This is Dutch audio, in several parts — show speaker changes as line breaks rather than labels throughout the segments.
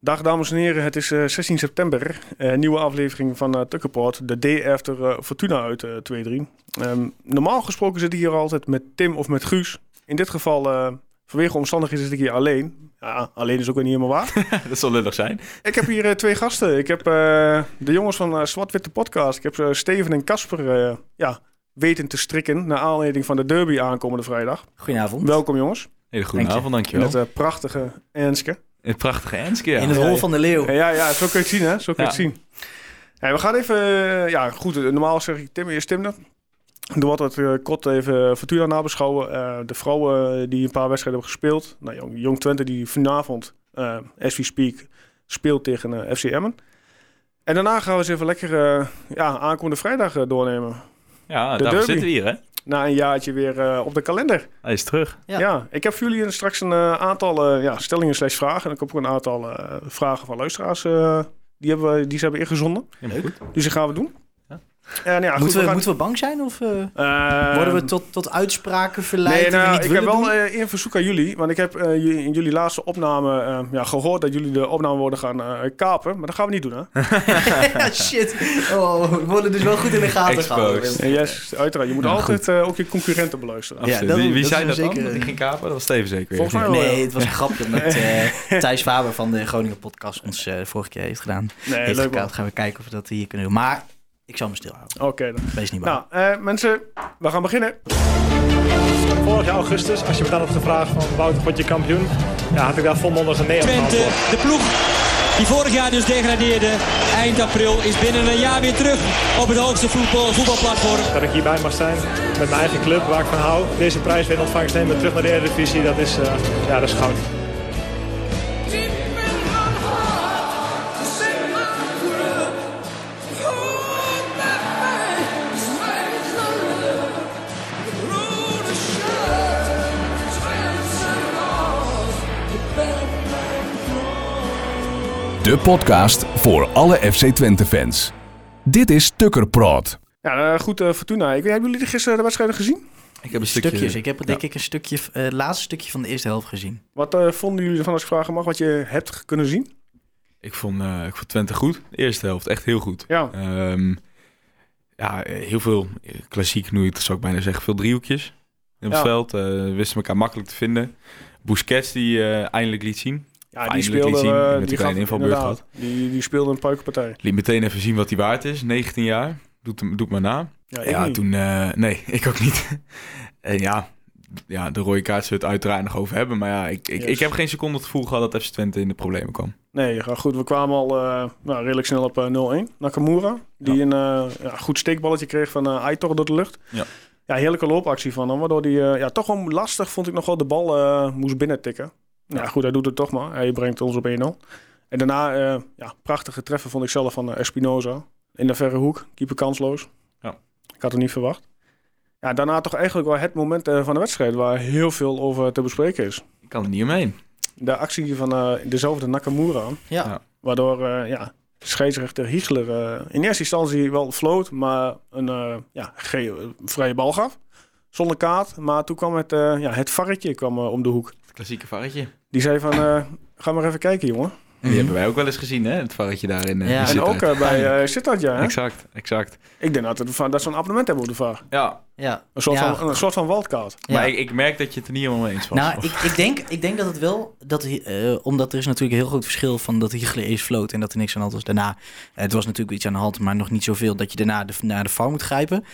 Dag dames en heren, het is eh, 16 september. Eh, nieuwe aflevering van eh Tukkenport, de day after eh, Fortuna uit eh 2-3. Ehm, normaal gesproken zit ik hier altijd met Tim of met Guus. In dit geval, eh, vanwege omstandigheden zit ik hier alleen. Ja, alleen is ook weer niet helemaal waar.
Dat zal lullig zijn.
ik heb hier eh, twee gasten. Ik heb eh, de jongens van eh, Zwart-Witte Podcast. Ik heb ze Steven en Casper eh, ja, weten te strikken naar aanleiding van de derby aankomende vrijdag.
Goedenavond.
Welkom jongens,
Hele goede
Dank je.
avond, dankjewel.
met eh, prachtige Enske.
Het prachtige Enske, ja.
In het
Ja,
hol
ja.
van de leeuw.
Ja, ja, ja, zo kun je het zien, hè? Zo kun je het
Ja.
zien. Hey, we gaan even... eh, Ja, goed. eh, Normaal zeg ik Tim, eerst Tim dan. Doe wat eh kort even Fortuna nabeschouwen. Eh, de vrouwen die een paar wedstrijden hebben gespeeld. Nou, Jong, Jong Twente die vanavond, eh as we speak, speelt tegen eh, FC Emmen. En daarna gaan we eens even lekker eh, ja, aankomende vrijdag eh, doornemen.
Ja,
De
daar
derby.
zitten we hier, hè.
Na een jaartje weer eh, op de kalender.
Hij is terug.
Ja.
Ja.
ik heb voor jullie straks een eh, aantal eh, ja, stellingen slash vragen. En ik heb ook een aantal eh, vragen van luisteraars eh, die, hebben, we- die ze hebben ingezonden.
Helemaal goed.
Dus die gaan we doen.
Ja.
En ja, goed,
moeten, we,
gaan-
moeten we bang zijn of eh,
Eh,
worden we tot, tot uitspraken verleid
Nee,
die
nou,
we niet
ik heb
willen
wel
doen?
eh, een verzoek aan jullie. Want ik heb eh, jullie- in jullie laatste opname eh, ja, gehoord dat jullie de opname worden gaan eh, kapen. Maar dat gaan we niet doen, hè?
Shit. Oh, we worden dus wel goed in de gaten
Exposed.
gehouden.
Eh, yes, uiteraard. Je moet
Nou,
altijd eh, ook je concurrenten beluisteren.
Absoluut.
dat-
wie wie
dat
zei dat
is
dan?
zeker- eh,
Dat die ging kapen? Dat was Steven zeker.
Volgens mij wel.
Nee, het was een grapje omdat eh, Thijs Faber van de Groningen podcast ons eh, vorige keer heeft gedaan.
Nee,
heeft
leuk man.
gekaapt. Gaan we kijken of we dat hier kunnen doen. Maar ik zal me stilhouden.
Oké, dan.
Wees niet bang.
Nou, eh, mensen, we gaan beginnen.
Vorig jaar augustus, als je me dan had gevraagd van Wouter, word je kampioen? Ja, had ik daar volmondig een nee op
Twente,
geantwoord.
de ploeg die vorig jaar dus degradeerde, eind april is binnen een jaar weer terug op het hoogste voetbal, voetbalplatform.
Dat ik hierbij mag zijn met mijn eigen club, waar ik van hou. Deze prijs weer in ontvangst nemen, terug naar de Eredivisie, dat is, eh, ja, dat is goud.
De podcast voor alle FC Twente fans. Dit is Tukker Prod.
Ja, eh, goed, eh, Fortuna. Ik, weet- hebben jullie gisteren de wedstrijden gezien?
Ik heb een stukje...
Stukjes. Ik heb denk ik een stukje, eh, het laatste stukje van de eerste helft gezien.
Wat eh, vonden jullie ervan als ik vragen mag wat je hebt kunnen zien?
Ik vond, eh, ik vond Twente goed. De eerste helft echt heel goed.
Ja,
Ehm, ja, eh, heel veel eh, klassiek, nu zou ik bijna zeggen, veel driehoekjes in het
Ja.
veld. eh, wisten elkaar makkelijk te vinden. Busquets die eh, eindelijk liet zien.
ja die
eindelijk
speelde...
liet zien.
eh,
Met
die
een kleine
gaf-
invalbeurt
inderdaad.
gehad.
Die, die speelde een puikenpartij.
Liet meteen even zien wat hij waard is. 19 jaar. Doet, hem- doet maar na.
Ja, ik
Ja,
niet.
toen... eh, nee, ik ook niet. en ja, ja, de rode kaart zullen we het uiteraard nog over hebben. Maar ja, ik, ik,
Yes.
ik heb geen seconde het gevoel gehad dat FC Twente in de problemen kwam.
Nee, ja, goed, we kwamen al eh, nou, redelijk snel op eh, 0-1. Nakamura, die een eh, ja, goed steekballetje kreeg van eh Aitor door de lucht.
Ja.
ja, heerlijke loopactie van hem, waardoor hij eh, ja, toch wel lastig, vond ik nog wel, de bal eh, moest binnentikken. Ja, goed, hij doet het toch maar. Hij brengt ons op 1-0. En daarna, eh, ja, prachtige treffen vond ik zelf van eh, Espinoza. In de verre hoek, keeper kansloos.
Ja.
Ik had het niet verwacht. Ja, daarna toch eigenlijk wel het moment eh, van de wedstrijd waar heel veel over te bespreken is.
Ik kan er niet omheen.
De actie van eh, dezelfde Nakamura.
Ja.
Ja.
Waardoor eh ja, scheidsrechter Hiegler eh, in eerste instantie wel floot, maar een eh, ja, ge- vrije bal gaf. Zonder kaart. Maar toen kwam het, eh, ja, het varretje kwam, eh, om de hoek.
Het klassieke varretje.
Die zei van, eh, ga maar even kijken, jongen.
Die hebben wij ook wel eens gezien, hè? Het varretje daarin. eh,
Ja.
die
En
zit
en ook
er.
eh, bij eh Sittard, ja. hè?
Exact, exact.
Ik denk dat, het, van- dat ze een abonnement hebben op de VAR.
Ja,
Ja.
Een soort,
Ja.
van, een soort van wildcard.
maar
Ja.
ik, ik merk dat je het er niet helemaal mee eens was.
Nou, ik, ik, denk, ik denk dat het wel, dat, hij, eh, omdat er is natuurlijk een heel groot verschil van dat Hiegler eerst floot en dat er niks aan de hand was daarna. Eh, het was natuurlijk iets aan de hand, maar nog niet zoveel dat je daarna de, naar de VAR moet grijpen.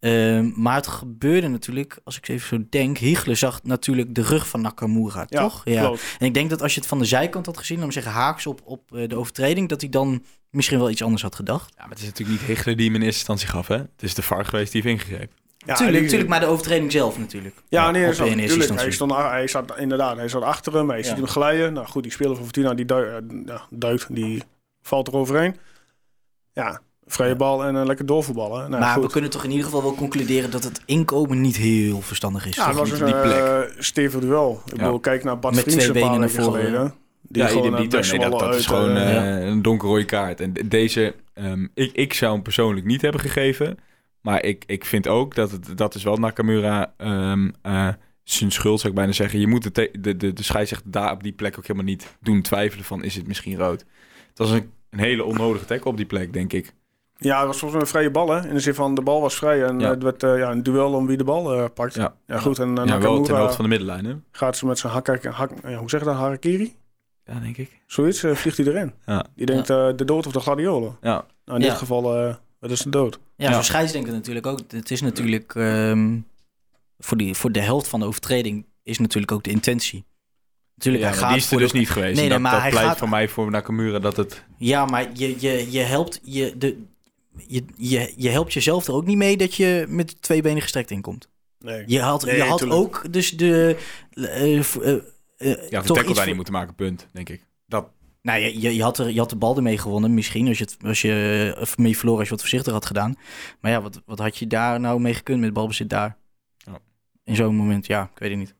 Ehm, maar het gebeurde natuurlijk, als ik even zo denk, Hiegler zag natuurlijk de rug van Nakamura,
Ja,
toch?
klopt.
En ik denk dat als je het van de zijkant had gezien, om zeggen haaks op, op eh, de overtreding, dat hij dan misschien wel iets anders had gedacht.
Ja, maar het is natuurlijk niet Hichler die hem in eerste instantie gaf, hè? Het is de VAR geweest die heeft ingegrepen.
Ja,
tuurlijk,
die-
tuurlijk, maar de overtreding zelf natuurlijk.
Ja, nee,
Op- E
hij
in
zat,
eerste
tuurlijk, hij,
instantie.
stond, a- hij zat inderdaad, hij zat achter hem, hij ziet hem glijden. Nou goed, die speler van Fortuna die duik, eh, ja, duikt, die valt er overheen. Ja, vrije bal en eh, lekker doorvoetballen. Nou,
maar
goed.
we kunnen toch in ieder geval wel concluderen dat het inkomen niet heel verstandig is.
ja,
toch?
het was
niet
een
op die
eh, stevig duel. Ik
Ja.
bedoel, kijk naar Bad
Met
Vriends een
twee
paar
benen
weken
naar voren.
geleden. Die
eh, ja,
gewoon
die-
aan
die- nee,
Pexwolle
dat, dat
uit...
is gewoon
eh,
eh, een donkerrode kaart. En de- deze, ehm, ik, ik zou hem persoonlijk niet hebben gegeven. Maar ik, ik vind ook dat het, dat is wel Nakamura ehm, eh, zijn schuld, zou ik bijna zeggen. Je moet de, te- de, de, de scheidsrechter daar op die plek ook helemaal niet doen twijfelen van... is het misschien rood? Het was een, een hele onnodige tackle op die plek, denk
Eh,
ik.
Ja, het was volgens mij een vrije bal, hè? In de zin van, de bal was vrij en
Ja.
het werd eh, ja, een duel om wie de bal eh, pakt. Ja,
Ja,
goed. En eh,
ja wel ten
Nakamura
hoogte van de middenlijn, hè?
gaat ze met zijn hak, hak, eh, hoe zeg je dat, harakiri?
Ja, denk ik.
Zoiets, eh, vliegt hij erin.
Ja.
Die denkt, eh, de dood of de gladiolen.
Ja.
Nou, in
Ja.
dit geval, eh het is de dood.
Ja,
Ja.
zo'n scheidsdenker natuurlijk ook. Het is natuurlijk ehm, voor, die, voor de helft van de overtreding is natuurlijk ook de intentie. Natuurlijk,
Ja,
hij
maar
gaat
die is er
voor de-
dus niet geweest.
Nee,
En
nee,
dat
maar
dat
hij
pleit
gaat-
van mij voor Nakamura dat het...
Ja, maar je, je, je, helpt, je, de, je, je, je helpt jezelf er ook niet mee dat je met twee benen gestrekt inkomt.
Nee.
Je had,
Nee,
je had
tuurlijk.
ook dus de... eh, v- eh,
Ja,
eh,
of een
toch
tackle
iets
bij
voor-
niet moeten maken, punt, denk ik.
Nou, je, je, je had er, je had de bal ermee gewonnen misschien. Als je, het, als je eh, mee verloren, als je wat voorzichtig had gedaan. Maar ja, wat, wat had je daar nou mee gekund met balbezit daar?
Ja.
In zo'n moment, ja, ik weet het niet.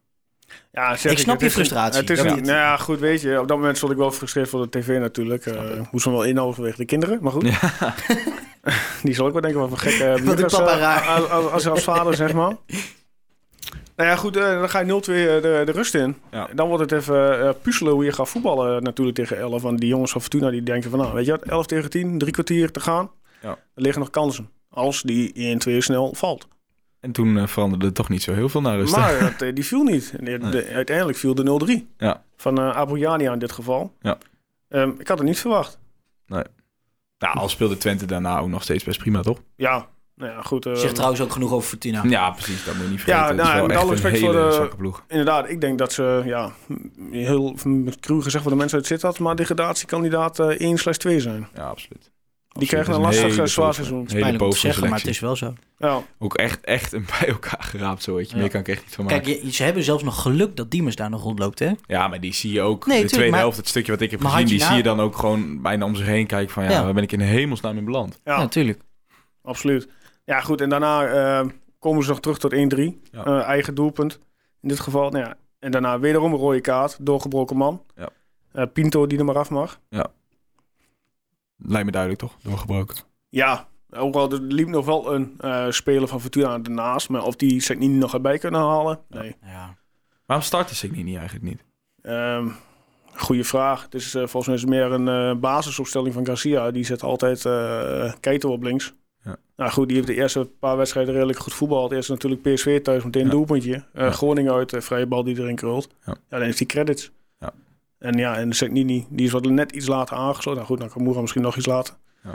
Ja, zeg
Ik
het
snap je
is een-
frustratie,
Het is
dat
een-
niet.
nou ja, goed, weet je. Op dat moment stond ik wel gefrustreerd voor de tv natuurlijk. Eh, hoe ze hem wel inhouden vanwege de kinderen, maar goed. Die zal ook wel denken, wat voor gekke...
Wat doet
als,
papa
eh,
raar?
Als, als, als, als vader, zeg maar. Nou ja, goed, eh, dan ga je 0-2 de, de rust in.
Ja.
Dan wordt het even eh, puzzelen hoe je gaat voetballen eh, natuurlijk tegen 11. Want die jongens van Fortuna die denken van, nou, weet je wat, 11 tegen 10, drie kwartier te gaan.
Ja.
Er liggen nog kansen. Als die 1-2 snel valt.
En toen eh, veranderde het toch niet zo heel veel naar rust.
Maar dat, eh, die viel niet. En de- de- uiteindelijk viel de 0-3.
Ja.
Van eh Abouyania in dit geval.
Ja.
Ehm, ik had het niet verwacht.
Nou, al speelde Twente daarna ook nog steeds best prima, toch?
Ja, nou ja, goed. eh,
Zegt trouwens ook genoeg over Fortuna.
Ja, precies. Dat moet je niet
Ja,
vergeten. Het is
nou,
wel
met
echt
alle
een
respect voor
hele
de-
zwakke ploeg.
Inderdaad, ik denk dat ze, ja, m- heel m- cru gezegd voor de mensen uit zit had, maar degradatiekandidaat eh 1 2 zijn.
Ja, absoluut.
Die krijgen een lastig, eh, zwaar seizoen.
Hele
Pijnlijk om te
povige
zeggen, maar het
selectie.
is wel zo.
Ja,
Ook echt, echt een bij elkaar geraapt zoetje.
Ja.
Meer kan ik echt niet van maken.
Kijk, je- ze hebben zelfs nog geluk dat Diemers daar nog rondloopt, hè?
ja, maar die zie je ook.
Nee,
de
tuurlijk,
tweede
maar-
helft, het stukje wat ik heb
Maar
gezien,
had je
die
na-
zie je dan ook gewoon bijna om zich heen kijken van ja,
Ja.
waar ben ik in de hemelsnaam in beland?
Ja.
natuurlijk.
absoluut. Ja, goed. En daarna eh, komen ze nog terug tot 1-3.
Ja.
Eh, eigen doelpunt. In dit geval, nou ja. En daarna wederom een rode kaart, doorgebroken man.
Ja.
Eh, Pinto die er maar af mag.
Lijkt me duidelijk toch? Doorgebroken.
Ja, ook al er liep nog wel een eh, speler van Fortuna ernaast. Maar of die Seknini nog erbij kunnen halen? Nee.
Ja.
Waarom startte Signini eigenlijk niet?
Ehm goede vraag. Het is eh, volgens mij is het meer een eh, basisopstelling van Garcia. Die zet altijd eh Keito op links.
Ja.
Nou goed, die heeft de eerste paar wedstrijden redelijk goed voetbal. Eerst natuurlijk PSV thuis, meteen een
Ja.
doelpuntje. Eh,
Ja.
Groningen uit, eh, vrije bal die erin krult.
Ja.
Ja. dan heeft hij credits.
Ja.
En ja, en Seknini, die is wat net iets later aangesloten. Nou goed, Nakamura misschien nog iets later.
Ja.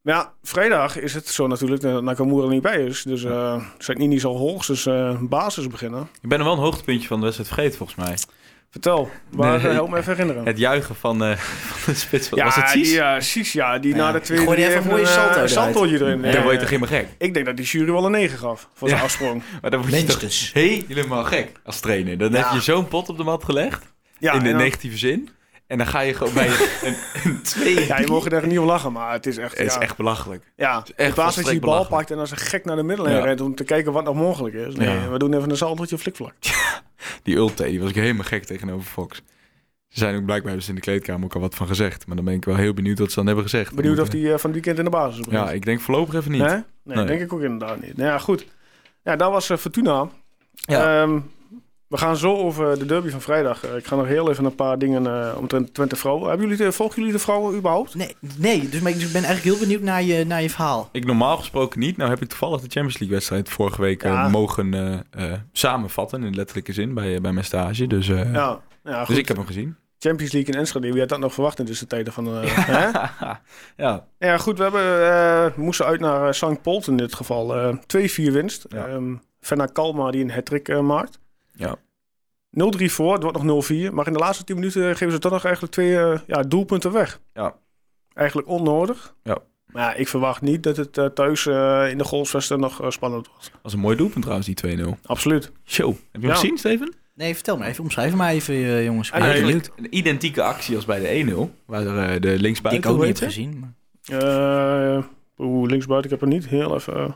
Maar ja, vrijdag is het zo natuurlijk dat Nakamura er niet bij is. Dus eh Seknini zal hoogstens eh, basis beginnen.
Ik ben er wel een hoogtepuntje van de wedstrijd vergeten volgens mij.
Vertel, waar,
Nee.
help me even herinneren.
Het juichen van, eh, van de spits. van was het Cies?
Die, eh, ja, Cies, ja. Die
Nou
na
Ja,
de
die
tweede...
gooide even een mooie
eh,
salto eruit.
saltootje erin.
Dan word je
Ja.
toch helemaal gek?
Ik denk dat die jury wel een 9 gaf voor zijn
Ja.
afsprong.
Maar dan word je toch
Minstens.
helemaal gek als trainer. Dan heb
Ja.
je zo'n pot op de mat gelegd.
Ja,
in de
en dan-
negatieve zin. En dan ga je gewoon bij een, een twee.
Ja, je mocht er niet om lachen, maar het is echt...
Het is
ja,
echt belachelijk.
ja.
is echt
in plaats dat je die
volstrekt
bal
belachelijk.
pakt en als een gek naar de middelen
Ja.
rent om te kijken wat nog mogelijk is. Nee,
Ja.
we doen even een saltootje flikvlak.
Die Ulte, die was ik helemaal gek tegenover Fox. Ze zijn ook blijkbaar hebben ze in de kleedkamer ook al wat van gezegd. Maar dan ben ik wel heel benieuwd wat ze dan hebben gezegd.
Benieuwd of die eh, van het weekend in de basis begint.
Ja, ik denk voorlopig even niet.
Hè? Nee,
Nee.
denk ik ook inderdaad niet. Nou ja, goed. Ja, dat was eh, Fortuna.
Ja.
Ehm, we gaan zo over de derby van vrijdag. Eh, ik ga nog heel even een paar dingen eh omtrent Twente vrouwen. Hebben jullie de, volgen jullie de vrouwen überhaupt?
Nee, nee dus, maar ik dus ik ben eigenlijk heel benieuwd naar je, naar je verhaal.
Ik normaal gesproken niet. Nou heb ik toevallig de Champions League wedstrijd vorige week eh,
Ja.
mogen eh, eh, samenvatten. In letterlijke zin bij, bij mijn stage. Dus, eh,
Ja. Ja, goed.
dus ik heb hem gezien.
Champions League in Enschede. Wie had dat nog verwacht in deze tijden van... eh, hè? Nou
ja,
Ja, goed. We hebben, eh, we moesten uit naar eh, St. Polt in dit geval. Eh, 2-4 winst.
Ja.
Ehm Fenna Kalma die een hat-trick eh, maakt.
Ja.
0-3 voor, het wordt nog 0-4. Maar in de laatste 10 minuten eh, geven ze toch nog eigenlijk twee eh, ja, doelpunten weg.
Ja.
Eigenlijk onnodig.
Ja.
Maar ja, ik verwacht niet dat het eh, thuis eh, in de goalsvesten nog eh, spannend wordt.
was een mooi doelpunt trouwens, die 2-0.
Absoluut.
Show. Heb je hem
Ja.
gezien, Steven?
Nee, vertel maar even. Omschrijf maar even, eh, jongens.
Ah,
Ik ben heel benieuwd.
Eigenlijk een identieke actie als bij de 1-0. Waar eh, de
Die
linksbuiten...
ik ook
hoe
niet
heet
heb
ze?
gezien. maar-
Eh Oeh, linksbuiten, ik heb er niet heel even... eh,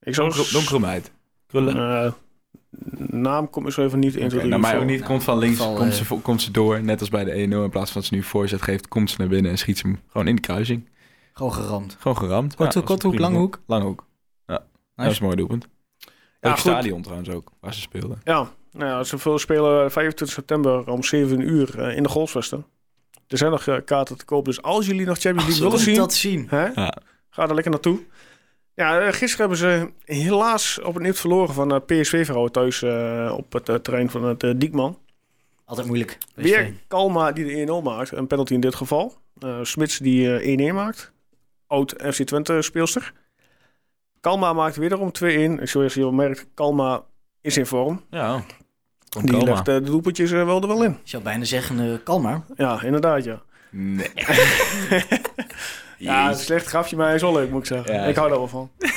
ik zou...
Donkere, donkere meid. Krullen.
Eh, naam komt me zo even niet in.
Oké,
tot in
nou,
ieder
mij ook
geval.
niet. Komt van links,
Geval,
komt,
eh,
ze, vo- komt ze door. Net als bij de 1-0. In plaats van dat ze nu voorzet geeft, komt ze naar binnen en schiet ze hem gewoon in de kruising.
Gewoon geramd.
Gewoon geramd.
Korte-
dat was
korte
een
hoek,
prima
lange
doel. Lange hoek. Ja, dat
Nice.
is een mooi doelpunt. Leuk
goed.
stadion trouwens ook, waar ze speelden.
Ja, nou ja, ze veel spelen 25 september om 7 uur eh, in de Golfswesten. Er zijn nog eh, kaarten te koop, dus als jullie nog Champions League willen
Wil ik
zien,
dat zien?
hè,
Ja.
ga er lekker naartoe. Ja, eh, gisteren hebben ze helaas op een nip verloren van eh, PSV vrouwen thuis eh, op het eh, terrein van het eh, Diekman.
Altijd moeilijk.
Weer Kalma die de 1-0 maakt, een penalty in dit geval. Eh Smits die eh 1-1 maakt, oud FC Twente speelster. Kalma maakt wederom 2-1. Zoals je al merkt, Kalma is in vorm.
Ja.
Die legt eh, de doelpuntjes eh, wel er wel in.
Ik zou bijna zeggen, eh, kalm maar.
Ja, inderdaad, ja.
Nee.
Ja, een slecht grafje, maar hij is wel leuk, moet ik zeggen.
Ja.
ik hou daar wel van.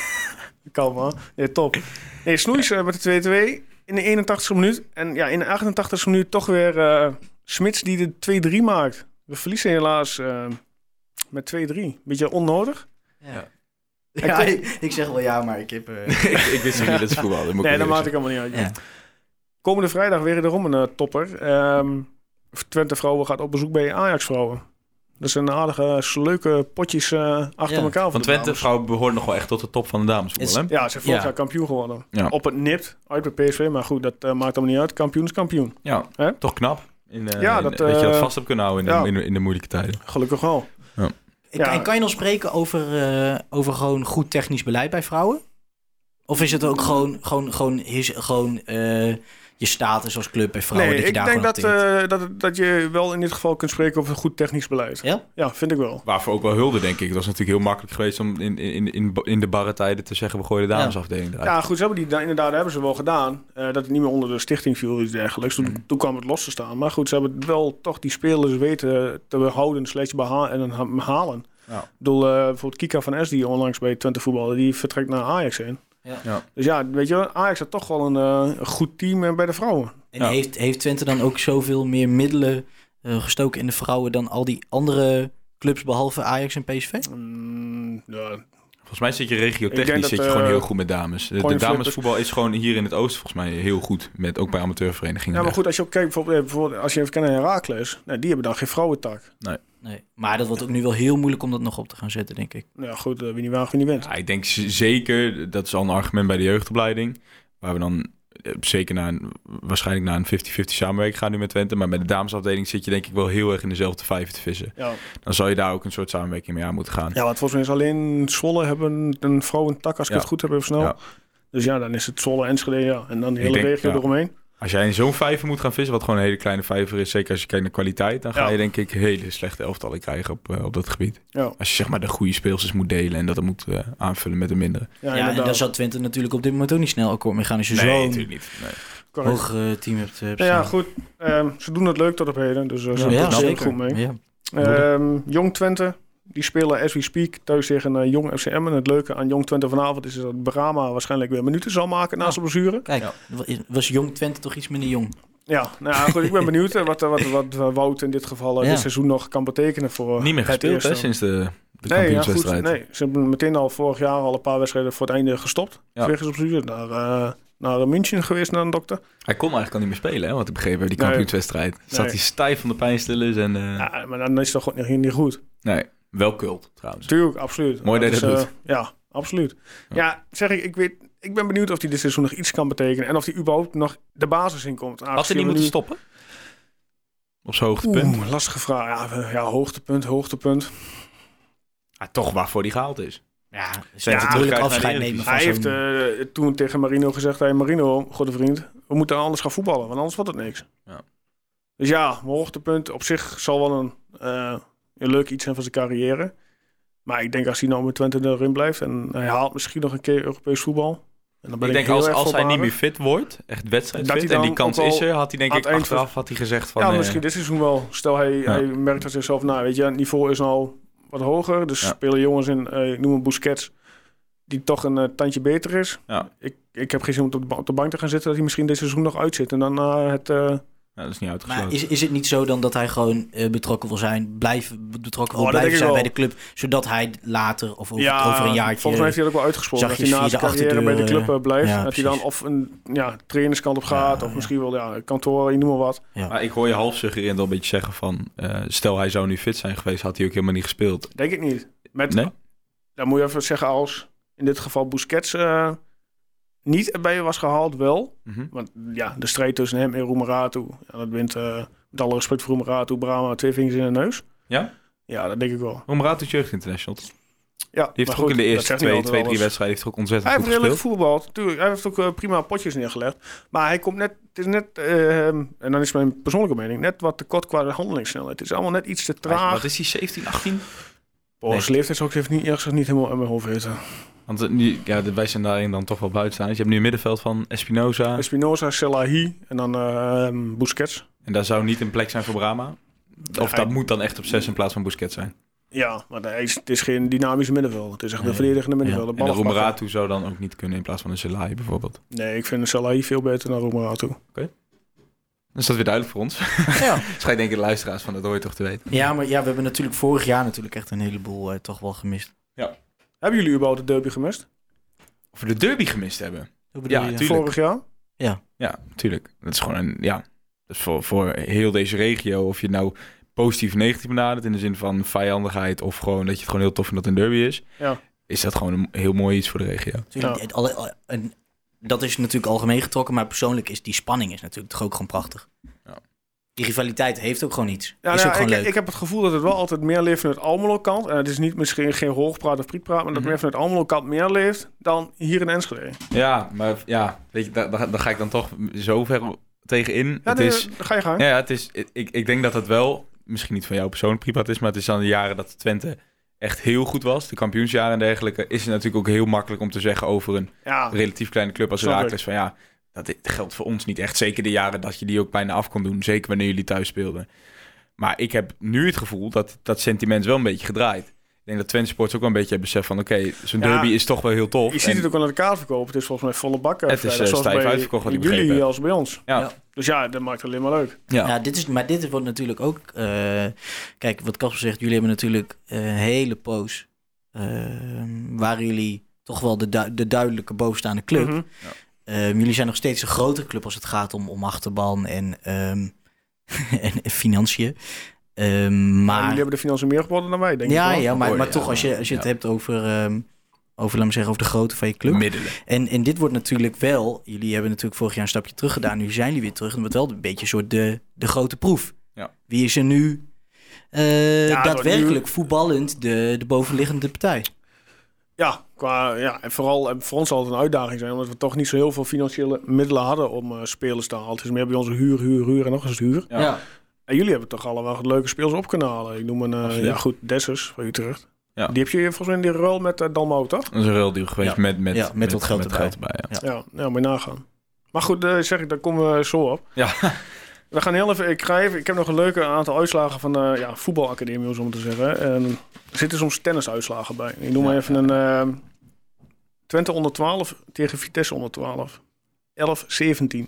kan man. Nee, top. Nee, Snoeis eh, met de 2-2 in de 81ste minuut. En ja, in de 88ste minuut toch weer eh, Smits die de 2-3 maakt. We verliezen helaas eh, met 2-3. Beetje onnodig.
Ja.
Ja,
ik, ik zeg wel ja, maar ik heb... eh,
ik, ik wist niet dat ze voetbal hadden. moet
Nee,
ik
dat
eerlijk
maakt ik allemaal niet uit.
ja.
Komende vrijdag weer wederom een eh, topper. Ehm, Twente Vrouwen gaat op bezoek bij Ajax Vrouwen. Dat zijn aardige, leuke potjes eh, achter elkaar.
Ja,
zeggen.
voor
Want
de
Twente,
dames.
vrouw, behoort nog wel echt tot de top van de damesvoetbal, hè?
Ja, ze heeft vorig
Ja.
jaar kampioen gewonnen.
Ja.
Op het nipt, uit bij PSV. Maar goed, dat eh, maakt allemaal niet uit. Kampioen is kampioen.
Ja,
Hè?
toch knap. In, eh,
Ja,
in-
dat,
dat, je dat
eh,
vast hebt kunnen houden in de,
ja.
in, de- in de moeilijke tijden.
Gelukkig wel.
En Kan,
Ja.
kan je nog spreken over, eh, over gewoon goed technisch beleid bij vrouwen? Of is het ook gewoon, gewoon, gewoon, his- gewoon eh, je status als club bij vrouwen?
nee,
dat je
ik
daar
denk
gewoon
dat,
op tilt?
eh, dat, dat je wel in dit geval kunt spreken over goed technisch beleid.
Ja?
Ja, vind ik wel.
Waarvoor ook wel hulde, denk ik. Het was natuurlijk heel makkelijk geweest om in, in, in, in de barre tijden te zeggen... we gooien de damesafdeling eruit.
Ja, goed, ze hebben die da- inderdaad hebben ze wel gedaan. eh, dat het niet meer onder de stichting viel of iets dergelijks. Toen,
Mm.
toen kwam het los te staan. Maar goed, ze hebben wel toch die spelers weten te behouden, slechts beha- en ha- halen.
Ja.
Ik bedoel, eh, bijvoorbeeld Kika van S, die onlangs bij Twente voetbalde, die vertrekt naar Ajax heen.
Ja.
Ja.
Dus ja, weet je, wel, Ajax had toch wel een eh, goed team eh, bij de vrouwen.
En
Ja.
heeft, heeft Twente dan ook zoveel meer middelen eh, gestoken in de vrouwen dan al die andere clubs behalve Ajax en PSV?
Mm, ja,
Volgens mij zit je
Ik denk
regiotechnisch
dat,
zit je gewoon
eh,
heel goed met dames. De, de
coinflip-
damesvoetbal is gewoon hier in het oosten volgens mij heel goed. Met, ook bij amateurverenigingen.
Ja, maar goed, als je ook kijkt, bijvoorbeeld, eh, bijvoorbeeld als je even kijkt naar Herakles, nou, die hebben dan geen vrouwentak.
Nee. Maar dat wordt ook nu wel heel moeilijk om dat nog op te gaan zetten, denk ik.
Nou ja, goed, eh, wie niet waagt, wie niet wint.
Ja, ik denk z- zeker, dat is al een argument bij de jeugdopleiding. Waar we dan eh, zeker naar een, waarschijnlijk naar een 50-50 samenwerking gaan nu met Twente. Maar met de damesafdeling zit je denk ik wel heel erg in dezelfde vijver te vissen.
Ja.
Dan zou je daar ook een soort samenwerking mee aan moeten gaan.
ja, want volgens mij is alleen Zwolle hebben een vrouwentak, als ik
Ja.
het goed heb even snel.
Ja.
Dus ja, dan is het Zwolle, Enschede, ja. En dan die
Ik
hele
denk,
regio
ja.
eromheen.
Als jij in zo'n vijver moet gaan vissen, wat gewoon een hele kleine vijver is, zeker als je kijkt naar kwaliteit, dan ga
Ja.
je denk ik hele slechte elftallen krijgen op, eh, op dat gebied.
Ja,
Als je zeg maar de goede speelsters moet delen en dat dan moet eh, aanvullen met de mindere.
ja,
Ja, en
inderdaad.
daar zal Twente natuurlijk op dit moment ook niet snel akkoord mee gaan als je zo'n
niet. Nee.
Correct.
hoog eh, team hebt. eh, hebt
Nou ja,
staan.
goed. ehm, ze doen het leuk tot op heden, dus eh, ze
Ja,
doen het
zeker.
goed mee.
Ja.
Ehm, Jong Twente, die spelen as we speak thuis tegen eh, Jong FCM. En het leuke aan Jong Twente vanavond is dat Brama waarschijnlijk weer minuten zal maken na zijn blessure.
Kijk, was Jong Twente toch iets minder jong?
Ja, nou ja, goed, ik ben benieuwd eh, wat, eh, wat, wat eh, Wout in dit geval eh,
Ja.
dit seizoen nog kan betekenen voor eh,
Niet meer
het
gespeeld hè,
eerste.
sinds de, de
Nee, ja,
kampioenswedstrijd.
goed, nee, ze hebben meteen al vorig jaar al een paar wedstrijden voor het einde gestopt.
Ja.
Wegens op zoek naar, eh, naar München geweest, naar een dokter.
Hij kon eigenlijk al niet meer spelen, hè, wat ik begrepen heb, die
Nee.
kampioenswedstrijd. Zat hij stijf van de pijnstillers en... eh,
Ja, maar dan is dat gewoon niet, niet goed.
Nee, wel kult trouwens.
Tuurlijk, absoluut.
Mooi dat je dat
is, eh, Ja, absoluut. Ja, zeg ik, ik, weet, ik ben benieuwd of hij dit seizoen nog iets kan betekenen. En of hij überhaupt nog de basis in komt.
Had hij niet moeten stoppen? Op zijn hoogtepunt.
Oeh, lastige vraag. Ja, we- ja, hoogtepunt, hoogtepunt.
Ah, toch waarvoor hij gehaald is.
Ja, dus
Twente
natuurlijk
terugkijkt naar de
afscheid
Eredivisie.
nemen van
Hij heeft
zo'n-
eh, toen tegen Marino gezegd... Hey Marino, goede vriend, we moeten anders gaan voetballen. Want anders wordt het niks.
Ja.
Dus ja, mijn hoogtepunt op zich zal wel een, eh, een leuk iets zijn van zijn carrière. Maar ik denk als hij nou met Twente erin blijft... en hij haalt misschien nog een keer Europees voetbal... En dan ben
Ik
ik,
denk
heel
als,
erg
als hij
voorbarig.
niet meer fit wordt, echt
Dat
wedstrijdfit,
hij
en die
dan
kans
ook al
is er, had hij denk
aan
ik
het eind van-
achteraf had hij gezegd van...
Ja,
eh,
misschien dit seizoen wel. Stel, hij,
Ja.
hij merkt dat zichzelf na. Weet je, het niveau is nou wat hoger. Dus
Ja.
spelen jongens in, eh, ik noem een Busquets, die toch een eh, tandje beter is.
Ja.
Ik, ik heb geen zin om op de, ba- op de bank te gaan zitten, dat hij misschien dit seizoen nog uitzit. En dan eh, het... eh,
nou, dat is niet uitgesloten.
Maar is, is het niet zo dan dat hij gewoon eh, betrokken wil zijn, blijven, betrokken wil
Oh, dat
blijven zijn
denk ik
bij
wel.
de club, zodat hij later of over, over een jaartje...
volgens mij heeft hij dat ook wel uitgesproken. Dat
zag
hij
je
na
via
zijn
de
carrière bij de
achterdeur,
club eh, blijft.
ja,
dat hij dan of
precies.
een ja, trainerskant op gaat,
Ja,
of
ja.
misschien wel ja, kantoor, ik noem maar wat.
Maar ik hoor je half suggererend al een beetje zeggen van... eh, stel hij zou nu fit zijn geweest, had hij ook helemaal niet gespeeld.
Denk ik niet. Met,
Nee?
Dan moet je even zeggen als, in dit geval Busquets... eh, niet erbij was gehaald, wel.
Mhm.
Want ja, de strijd tussen hem en Roemeratu, ja, dat wint eh, met alle respect voor Roemeratu, Brahma twee vingers in de neus.
Ja?
Ja, dat denk ik wel.
Om Raad tot Jeugd International. Die
Ja,
heeft
maar
toch
goed,
ook in de
dat
eerste
zegt niet
twee,
altijd
twee, drie
alles.
wedstrijden heeft toch ontzettend
Hij heeft
goed
redelijk
gespeeld.
voetbal, natuurlijk. Hij heeft ook eh, prima potjes neergelegd. Maar hij komt net, het is net, eh, en dan is mijn persoonlijke mening, net wat tekort qua de handelingssnelheid. Het is allemaal net iets te
Hij-
traag.
Wat is die 17, 18?
Oh, zijn leeftijd zou ik even niet, eerlijk gezegd niet helemaal in mijn hoofd weten.
Want eh, nu, ja, de- wij zijn daarin dan toch wel buitenstaanders. Je hebt nu een middenveld van Espinoza.
Espinoza, Selahi en dan eh, ehm, Busquets.
En daar zou niet een plek zijn voor Brama. Of
Ja, hij-
dat moet dan echt op 6 in plaats van Busquets zijn.
Ja, maar hij is- het is geen dynamische middenveld. Het is echt
Nee.
een verdedigende middenveld.
En
Een
de
ballenpakker.
Romeratu zou dan ook niet kunnen in plaats van een Zelai bijvoorbeeld.
Nee, ik vind Selahi veel beter dan Romeratu.
Dan is Dus dat weer duidelijk voor ons.
Ja.
Schijnt denk ik de luisteraars van dat hoor je toch te weten.
Ja, maar ja, we hebben natuurlijk vorig jaar natuurlijk echt een heleboel eh, toch wel gemist.
Hebben jullie überhaupt de derby gemist?
Of we de derby gemist hebben.
Hoe bedoel
Ja,
je?
tuurlijk.
Vorig jaar?
Ja, natuurlijk. Dat is gewoon een, ja, dat is voor, voor heel deze regio. Of je het nou positief of negatief benadert in de zin van vijandigheid of gewoon dat je het gewoon heel tof vindt dat het een derby is.
Ja.
Is dat gewoon een heel mooi iets voor de regio.
Tuurlijk,
Ja.
het alle- al- en dat is natuurlijk algemeen getrokken, maar persoonlijk is die spanning is natuurlijk toch ook gewoon prachtig.
Ja.
Die rivaliteit heeft ook gewoon iets.
Ja,
is
nou ja,
ook gewoon
ik,
leuk.
ik heb het gevoel dat het wel altijd meer leeft vanuit Almelo kant. En het is niet misschien geen hoogpraat of prietpraat, maar dat
Mhm.
meer vanuit Almelo kant meer leeft dan hier in Enschede.
Ja, maar ja, weet je, daar, daar, daar ga ik dan toch zo ver tegenin.
Ja,
het
nee,
is,
ga je gang.
ja, ja, het is, ik, ik denk dat het wel, misschien niet van jou persoonlijk privaat is, maar het is aan de jaren dat Twente echt heel goed was, de kampioensjaren en dergelijke, is het natuurlijk ook heel makkelijk om te zeggen over een
Ja,
relatief kleine club als
Ah. Snap ik.
Heracles van ja, dat dit geldt voor ons niet echt. Zeker de jaren dat je die ook bijna af kon doen, zeker wanneer jullie thuis speelden. Maar ik heb nu het gevoel dat dat sentiment wel een beetje gedraaid. Ik denk dat Twente Sports ook wel een beetje het besef van oké, zo'n
Ja,
derby is toch wel heel tof.
je ziet
En-
het ook aan de kaartverkoop. Het is volgens mij volle bakken.
Het is,
vrijdag,
eh,
zoals
stijf
bij
uitverkocht, had ik
Jullie
begrepen.
als bij ons.
ja.
Ja.
Dus ja, dat maakt het alleen maar leuk.
Ja.
Ja, Nou, dit is, maar dit wordt natuurlijk ook. eh, kijk, wat Kasper zegt, jullie hebben natuurlijk eh, een hele poos. ehm waren jullie toch wel de, du- de duidelijke bovenstaande club.
Mhm.
Ehm, jullie zijn nog steeds een grotere club als het gaat om, om achterban en, ehm, en financiën. Ehm,
Ah.
En
maar
jullie hebben de financiën meer geworden dan wij, denk
ja,
ik. wel.
ja, maar,
Oh,
maar
ja,
toch, als je, als je het
ja.
hebt over, ehm, over, laat me zeggen, over de grootte van je club.
middelen.
En, en dit wordt natuurlijk wel, jullie hebben natuurlijk vorig jaar een stapje terug gedaan, nu zijn jullie weer terug. En het wordt wel een beetje een soort de, de grote proef.
Ja.
Wie is er nu eh,
Ja, door
daadwerkelijk voetballend de, de bovenliggende partij?
Ja, qua, ja en vooral en voor ons zal het een uitdaging zijn, omdat we toch niet zo heel veel financiële middelen hadden om eh, spelers te halen. Het is meer bij onze huur, huur, huur en nog eens huur.
Ja.
En jullie hebben toch allemaal wat leuke spelers op kunnen halen. Ik noem een, eh,
Absoluut.
ja goed, Dessers van Utrecht.
Ja.
Die heb je volgens mij in die ruil met eh, Dalmau, toch?
Dat is een ruildeal geweest
Ja.
met, met,
Ja, met wat geld erbij.
ja.
Ja, ja, moet je nagaan. Maar goed, eh, zeg ik, daar komen we zo op.
Ja.
We gaan heel even, ik, ga even, ik heb nog een leuke aantal uitslagen van eh ja, voetbalacademie, om zo maar te zeggen. En er zitten soms tennisuitslagen bij. Ik noem maar even een eh, Twente onder 12 tegen Vitesse onder 12. 11-17.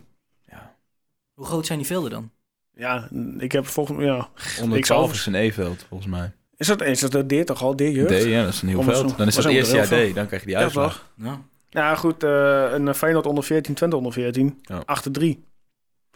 Hoe groot zijn die velden dan?
Ja, ik heb volgens mij... Ja.
Onder
Ik zou-
12 is een E-veld, volgens mij.
Is dat eens? Is dat D toch al? D-jeugd?
D, ja, dat is een heel
Anders
veld.
nog-
Dan is dat
was ook
eerste
een
jaar
heel
D, dan krijg je die uitslag.
toch?
Nou,
Nou goed, eh, een Feyenoord onder 14, Twente onder 14.
Ja.
8-3.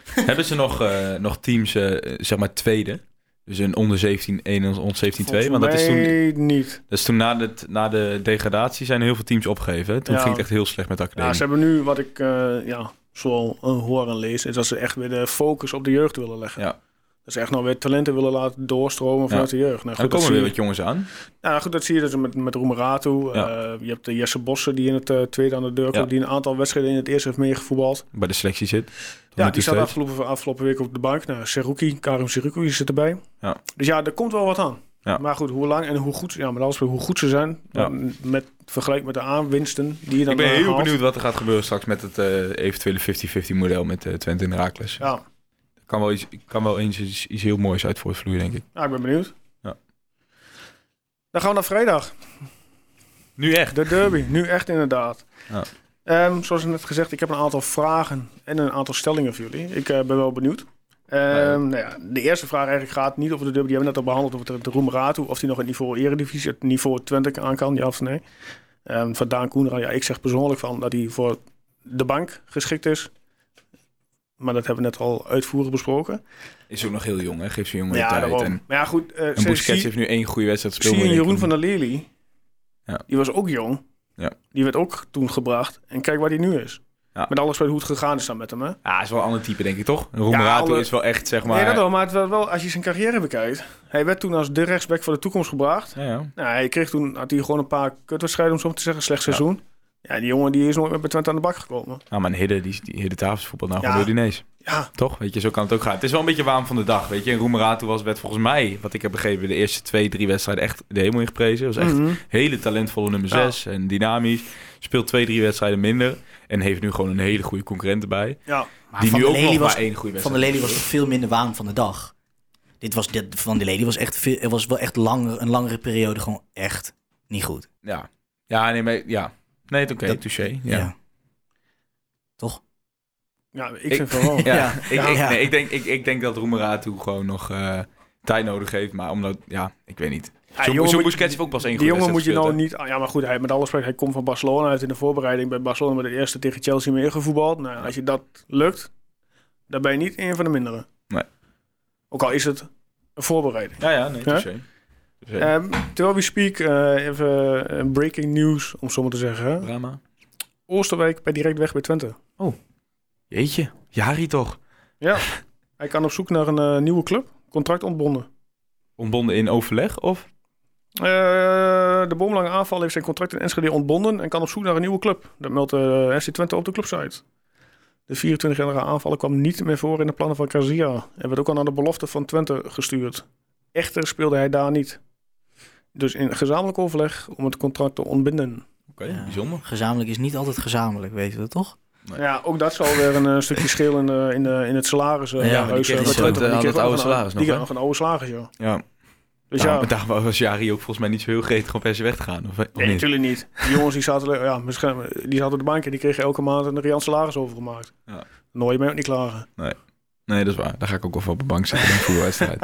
Hebben ze nog, eh, nog teams, eh, zeg maar, tweede? Dus een onder 17, 1 en onder 17, 2. Want dat is toen,
Nee, niet.
dat is toen na, de, na de degradatie zijn heel veel teams opgegeven. hè. Toen
Ja.
ging het echt heel slecht met de academie.
Ja, ze hebben nu, wat ik eh, ja, zo eh, hoor en lees, is dat ze echt weer de focus op de jeugd willen leggen.
Ja.
Dat ze echt nou weer talenten willen laten doorstromen vanuit de jeugd. Nou,
Dan
goed, dat
komen
zie
weer
je,
wat jongens aan.
nou, goed, dat zie je dus met, met Roemeratu.
Ja.
Eh, je hebt de Jesse Bossen die in het eh, tweede aan de deur komt.
Ja.
Die een aantal wedstrijden in het eerste heeft meegevoetbald.
Bij de selectie zit. Tot
Ja,
nu
die
toe
staat
steeds.
afgelopen, afgelopen week op de bank. Nou, Seruki, Karim Seruki zit erbij.
Ja.
Dus ja, er komt wel wat aan.
Ja.
Maar goed, hoe lang en hoe goed, ja, maar alles weer hoe goed ze zijn.
Ja.
Met vergelijk met de aanwinsten die je dan
Ik ben
eh,
heel
haalt.
benieuwd wat er gaat gebeuren straks met het eh, eventuele 50-50 model met eh, Twente en Herakles.
Ja.
Kan wel, iets, kan wel eens iets, iets heel moois uit voortvloeien, denk ik.
Ja, Nou, ik ben benieuwd.
Ja.
Dan gaan we naar vrijdag.
Nu echt.
De derby, nu echt inderdaad.
Ja.
Ehm, zoals net gezegd, ik heb een aantal vragen en een aantal stellingen voor jullie. Ik eh, ben wel benieuwd. Ehm,
ja.
Nou ja, de eerste vraag eigenlijk gaat niet over de derby. Die hebben we net al behandeld over de Roemerato. Of die nog het niveau eredivisie, het niveau 20 aan kan, ja of nee. Ehm, van Daan Koenra, ja, ik zeg persoonlijk van dat hij voor de bank geschikt is. Maar dat hebben we net al uitvoerig besproken.
Is ook nog heel jong, hè? Geef zijn jongen de
Ja,
tijd.
daarom.
En,
Maar ja, goed. eh,
en
ze-
Busquets
zie-
heeft nu één goede wedstrijd gespeeld.
zie je
maar
Jeroen
ik-
van der Lely.
Ja.
Die was ook jong.
Ja.
Die werd ook toen gebracht. En kijk waar die nu is. Met alles weet hoe het gegaan is dan met hem. Hè?
Ja, Ah, is wel een ander type, denk ik, toch? Roemerato
alle-
is wel echt, zeg maar...
Nee, dat wel. Maar het wel, wel, als je zijn carrière bekijkt. Hij werd toen als de rechtsback voor de toekomst gebracht.
Ja, ja.
Nou, hij kreeg toen, had hij gewoon een paar kutwedstrijden, om zo maar te zeggen. Slecht seizoen. Ja, die jongen die is nooit meer bij Twente aan de bak gekomen.
Nou, maar een Hidde, die, die Hidde Tafels voetbal nou
Ja.
gewoon door die neus.
Ja,
Toch? Weet je, zo kan het ook gaan. Het is wel een beetje warm van de dag, weet je. En Roemerato was, werd volgens mij, wat ik heb begrepen, de eerste twee, drie wedstrijden echt de hemel ingeprezen. Was echt hele talentvolle nummer
Ja.
6 en dynamisch. Speelt twee, drie wedstrijden minder. En heeft nu gewoon een hele goede concurrent erbij.
ja.
Maar
die
Van
nu
der
ook nog
Lely was,
maar één goede
Van
wedstrijd
der Lely was toch veel minder waan van de dag. Dit was, dit, van der Lely was, echt, veel- was wel echt langer, een langere periode gewoon echt niet goed.
Ja. Ja, nee, maar ja. Nee, het oké,
Dat-
touché. Ja. Ja.
Toch?
ja ik,
Ik-
vind van wel.
Ja.
Ik,
Ja.
ik- nee, ik, denk, ik, ik denk dat Roemerato gewoon nog eh, tijd nodig heeft. Maar omdat, ja, ik weet niet.
Ja,
Zo'n
jongen
zo'n
moet-
Busquets heeft ook pas één
Die
goede
jongen moet je
wedstrijd
nou
gespeeld,
niet... ah, Ja, maar goed, hij, met alle spreken, hij komt van Barcelona. Hij heeft in de voorbereiding bij Barcelona met het eerste tegen Chelsea meer gevoetbald. Nou, als je dat lukt, dan ben je niet een van de mindere.
Nee.
Ook al is het een voorbereiding.
hè? Ja, ja, nee,
Ja?
touché. Touché.
Ehm, terwijl we speak, eh, even eh, breaking news, om zo maar te zeggen.
Drama.
Oosterwijk bij direct weg bij Twente.
Jeetje, Jari toch?
Hij kan op zoek naar een eh, nieuwe club. Contract ontbonden.
Ontbonden in overleg of?
Eh, de boomlange aanval heeft zijn contract in Enschede ontbonden en kan op zoek naar een nieuwe club. Dat meldt de FC Twente op de clubsite. De 24-jarige aanvaller kwam niet meer voor in de plannen van Casia en werd ook al naar de belofte van Twente gestuurd. Echter speelde hij daar niet. Dus in gezamenlijk overleg om het contract te ontbinden.
Oké,
Ja.
bijzonder.
Gezamenlijk is niet altijd gezamenlijk, weten we toch?
Ja, ook dat zal weer een eh, stukje schil in, eh, in, eh, in het salaris. eh,
Ja,
bij
maar die
Heus,
kreeg
eh,
niet
bij
zo-
Twente.
dat-
Die
dat
kreeg
oude
nog een-
salaris
Die
nog,
kreeg
hè?
nog een oude salaris, ja.
Ja,
Dus
daarom,
ja,
daarom was Jari ook volgens mij niet zo heel gretig om per se weg te gaan. Of, of
Nee,
niet?
natuurlijk niet. Die jongens die zaten, ja, misschien, die zaten op de bank en die kregen elke maand een riant salaris overgemaakt.
Ja.
Nooit mee ook niet klagen.
nee, dat is waar. Daar ga ik ook wel voor op de bank zitten in een voetbalwedstrijd.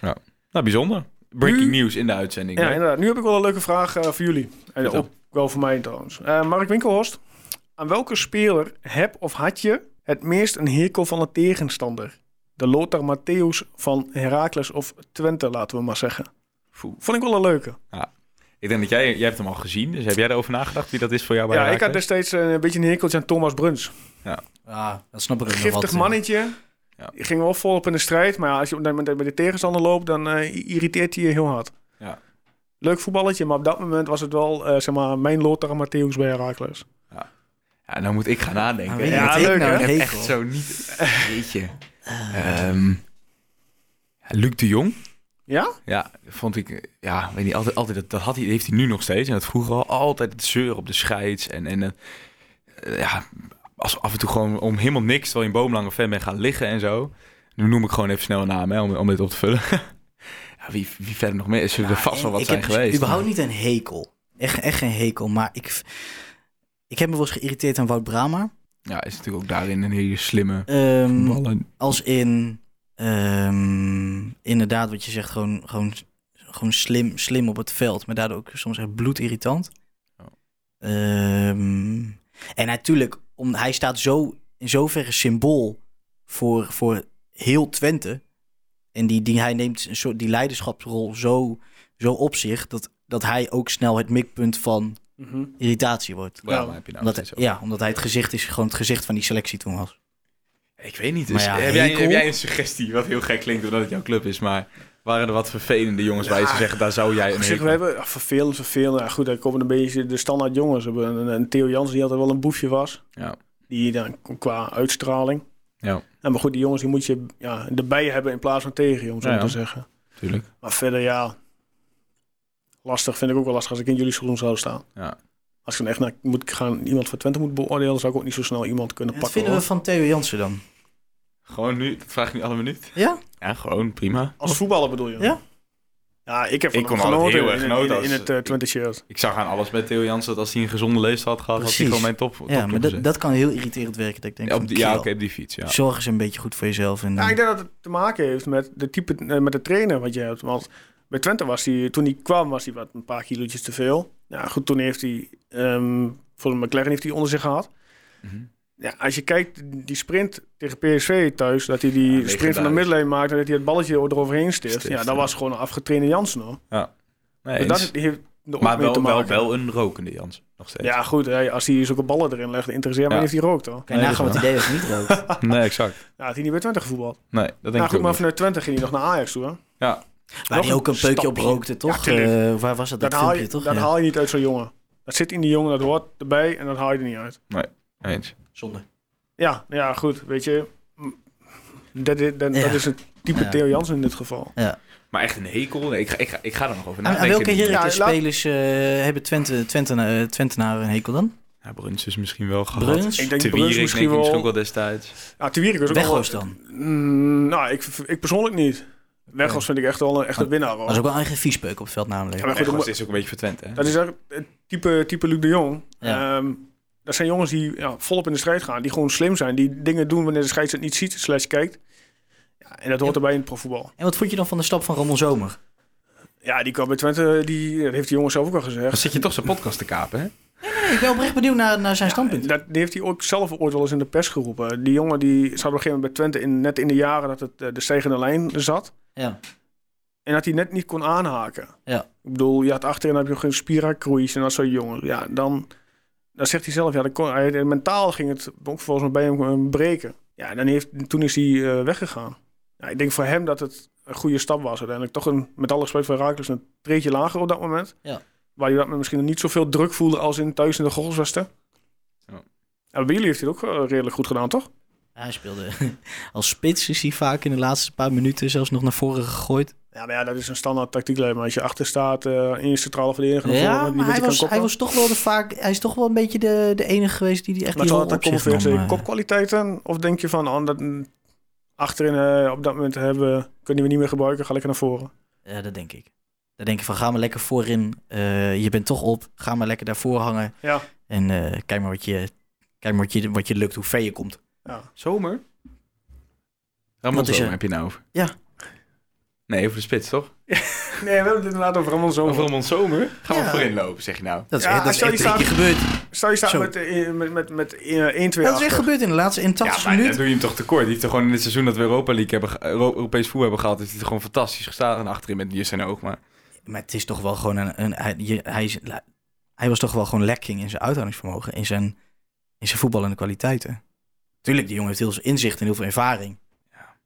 ja. Nou, bijzonder. Breaking
Nu-
news in de uitzending.
Ja,
hè?
inderdaad. Nu heb ik wel een leuke vraag eh, voor jullie. En
Vertel.
ook wel voor mij trouwens. Eh, Mark Winkelhorst, aan welke speler heb of had je het meest een hekel van de tegenstander? De Lothar Matthäus van Heracles of Twente, laten we maar zeggen.
Foe.
Vond ik wel een leuke.
Ik denk dat jij, jij hebt hem al gezien, dus heb jij erover nagedacht wie dat is voor jou bij
ja, ik had
Heracles?
destijds eh, een beetje een hekeltje aan Thomas Bruns.
Ja, Ah, dat snap ik ook nog
Giftig
wat.
mannetje.
Ja.
Die ging wel volop in de strijd. Maar ja, als je op dat moment bij de tegenstander loopt, dan eh, irriteert hij je heel hard.
Ja.
Leuk voetballetje, maar op dat moment was het wel eh, zeg maar, mijn Lothar Matthäus bij Heracles.
Ja, nou moet ik gaan
Ja,
nadenken.
weet
Ik
je
Ja,
wat ik
leuk,
nou
hè?
een
heb
hekel?
echt zo niet... Jeetje.
Eh.
Ehm, ja, Luc de Jong.
Ja?
Ja, vond ik, eh, ja, weet niet, altijd, altijd dat, dat had hij, heeft hij nu nog steeds. En dat vroeger al, altijd het zeur op de scheids. En, en eh, eh, ja, als af en toe gewoon om helemaal niks, terwijl je een boomlange fan bent gaan liggen en zo. Nu noem ik gewoon even snel een naam, hè, om, om dit op te vullen. ja, wie, wie verder nog meer? Er Zullen
Ja,
er vast wel
en
wat
ik
zijn
heb dus
geweest?
überhaupt niet een hekel. Echt, echt geen hekel, maar ik, ik heb me wel eens geïrriteerd aan Wout Brama.
Ja, is natuurlijk ook daarin een hele slimme
Ehm,
ballen.
als in, ehm, inderdaad wat je zegt, gewoon, gewoon, gewoon slim, slim op het veld. Maar daardoor ook soms echt bloedirritant.
Oh.
Ehm, en natuurlijk, om, hij staat zo, in zoverre symbool voor, voor heel Twente. En die, die, hij neemt een soort, die leiderschapsrol zo, zo op zich... Dat, dat hij ook snel het mikpunt van
Mhm.
irritatie wordt.
Brahma heb je nou
Omdat,
steeds over.
ja, omdat hij het gezicht is, gewoon het gezicht van die selectie toen was.
Ik weet niet.
Maar
Dus
ja,
heb, jij,
hekel?
heb jij een suggestie? Wat heel gek klinkt, omdat het jouw club is. Maar waren er wat vervelende jongens waar je zou zeggen, daar zou jij een
Ik zeg,
hekel-
we hebben ah, vervelend, vervelend. Ja, goed, daar komen een beetje de standaard jongens. We hebben een, een Theo Jansen die altijd wel een boefje was.
Ja.
Die dan qua uitstraling.
Ja.
En maar goed, die jongens die moet je ja, erbij hebben in plaats van tegen je, om zo
Ja,
maar te
ja.
zeggen.
Tuurlijk.
Maar verder, ja, lastig vind ik ook wel lastig als ik in jullie schoenen zou staan.
Ja.
Als ik dan echt naar, moet gaan, iemand voor Twente moet beoordelen, zou ik ook niet zo snel iemand kunnen
Wat
pakken.
vinden we
hoor.
van Theo Jansen dan?
Gewoon nu, dat vraag ik nu alle minuut.
Ja?
Ja, gewoon prima.
Als voetballer bedoel je?
Ja.
Ja, ik heb
Ik
van hem
kon altijd
genoten
heel
in,
erg
in-
genoten
in- in,
als-
het eh, Twente shirt.
Ik zag aan alles met Theo Jansen dat als hij een gezonde leefstijl had gehad, had hij
Precies.
gewoon mijn top.
Ja,
topclub
maar dat,
gezet.
dat kan heel irriterend werken. Dat ik denk,
Ja,
van,
op die, ja
kerel,
oké, op die fiets. Ja.
Zorg eens een beetje goed voor jezelf. En,
Ja, Nou, ik denk dat het te maken heeft met de type, eh, met de trainer wat je hebt. Want bij Twente was hij, toen hij kwam, was hij wat een paar kilootjes te veel. Ja, goed, toen heeft hij, ehm voor de McLaren heeft hij onder zich gehad.
Mhm.
Ja, als je kijkt, die sprint tegen PSV thuis, dat hij die
Ja,
sprint van de
legendarisch.
midlijn maakt en dat hij het balletje eroverheen stift.
Stift,
ja, dat
ja.
was gewoon een afgetrainde Jansen hoor.
Nee,
Maar dat
eens.
heeft nog
Maar
meer te
wel, wel,
maken.
wel een rokende Jans. Nog steeds.
Ja, goed. hè, als hij zulke ballen erin legt, interesseert mij
Ja.
heeft hij rookt hoor.
Kan je
Nee,
nagaan
dat
wat
is
idee als niet rookt?
Nee, exact.
Ja, had hij niet bij Twente gevoetbald.
Nee, dat denk
Nou
ik
goed,
ook
maar
niet.
vanuit Twente ging hij nog naar Ajax toe. Hè?
Ja.
Waar hij
een
ook een peukje op
stapje.
rookte,
Ja,
toch?
tuurlijk.
Eh, waar was dat? Dat,
Dat, haal,
filmpje,
je,
toch?
dat
Ja.
haal je niet uit zo'n jongen. Dat zit in die jongen, dat hoort erbij en dat haal je er niet uit.
Eens.
Zonde.
Ja, ja goed. Weet je, mm, dat, dat, dat,
Ja.
dat is een type
Ja.
Theo Jansen in dit geval.
Maar echt een hekel? Nee, ik, ga, ik, ga, ik ga er nog over
Aan, aan
nadenken.
welke
Ja,
Heracles
laat-
spelers eh, hebben Twente, Twente, eh, Twentenaren een hekel dan?
Ja, Bruns is misschien wel gehad.
Bruns?
Ik
Te
denk
Wierik
Bruns
denk ik
misschien wel.
misschien ook wel destijds.
Ja, Te Wierik is ook wel.
Weghorst dan.
Mm, nou, ik, ik persoonlijk niet. Weghorst vind ik echt wel een, echt een winnaar. hoor.
Dat is ook wel een eigen viespeuk op het veld namelijk.
Ja, maar goed,
Weghorst
dat
is ook een beetje vertwend, hè?
moet- dat is echt het type, type Luc de Jong.
Ja.
Ehm, dat zijn jongens die ja, volop in de strijd gaan. Die gewoon slim zijn. Die dingen doen wanneer de scheids het niet ziet, slash kijkt. Ja, en dat hoort erbij in het profvoetbal.
En wat vond je dan van de stap van Ramon Zomer?
Ja, die kwam bij Twente, die, dat heeft die jongen zelf ook al
Dan
gezegd.
zit je toch zijn podcast te kapen, hè?
Ik ben oprecht benieuwd naar, naar zijn standpunt.
Dat, die heeft hij ook zelf ooit wel eens in de pers geroepen. Die jongen die zat op een gegeven moment bij Twente in, net in de jaren dat het eh, de stijgende lijn zat.
Ja.
En dat hij net niet kon aanhaken.
Ja.
Ik bedoel, je had achterin heb je geen Spira, Cruyff en dat soort jongens. Ja, dan, dan zegt hij zelf, ja, dan kon, hij, mentaal ging het ook volgens mij bij hem eh, breken. Ja, dan heeft, toen is hij eh, weggegaan. Ja, ik denk voor hem dat het een goede stap was uiteindelijk. Toch een, met alle respect voor Raakles een treetje lager op dat moment.
Ja.
Waar hij dat moment misschien niet zoveel druk voelde als in thuis in de Golfswesten.
Ja.
En bij jullie heeft hij het ook eh, redelijk goed gedaan, toch?
Hij speelde als spits, is hij vaak in de laatste paar minuten zelfs nog naar voren gegooid.
Ja, maar ja, dat is een standaard tactiek. Maar als je achter staat eh, in je centrale verdediger... naar voren,
Ja,
die
maar
met
hij
die kan
was, hij
koppen.
was toch wel de vaak, hij is toch wel een beetje de, de enige geweest die die echt
Maar
die
zal
rol
het dan
op zich
komen voor
nam,
zijn
eh.
kopkwaliteiten? Of denk je van, oh, dat, mm, achterin eh, op dat moment hebben, kunnen we niet meer gebruiken, ga lekker naar voren.
Ja, dat denk ik. Dan denk ik van, ga maar lekker voorin. Eh, je bent toch op. Ga maar lekker daarvoor hangen.
Ja.
En eh, kijk maar, wat je, kijk maar wat, je, wat je lukt, hoe ver je komt.
Zomer? Ramon
Wat is
Zomer
er?
heb je nou over?
Ja.
Nee, over de spits, toch?
Nee, we hebben het inderdaad over Ramon
Over
Zomer.
Ramon Zomer? Ga maar
Ja.
voorin lopen, zeg je nou.
Dat is,
Ja,
echt- dat
als
is
jij
echt
staat-
drie keer gebeurd.
Stel je staat
Zo.
met, eh, met, met, met eh, 1-2
Dat is echt
achter.
gebeurd in de laatste in 80
maar dan
minuten.
doe je hem toch tekort. Die heeft er gewoon in het seizoen dat we Europa League hebben, ge- Euro- Europees voetbal hebben gehad, is hij er gewoon fantastisch gestaan en achterin met Jus en Oog. Maar
Maar het is toch wel gewoon een... een hij, je- hij, is- la- hij was toch wel gewoon lekking in zijn uithoudingsvermogen. In zijn, in zijn voetballende kwaliteiten. Tuurlijk, die jongen heeft heel veel inzicht en heel veel ervaring.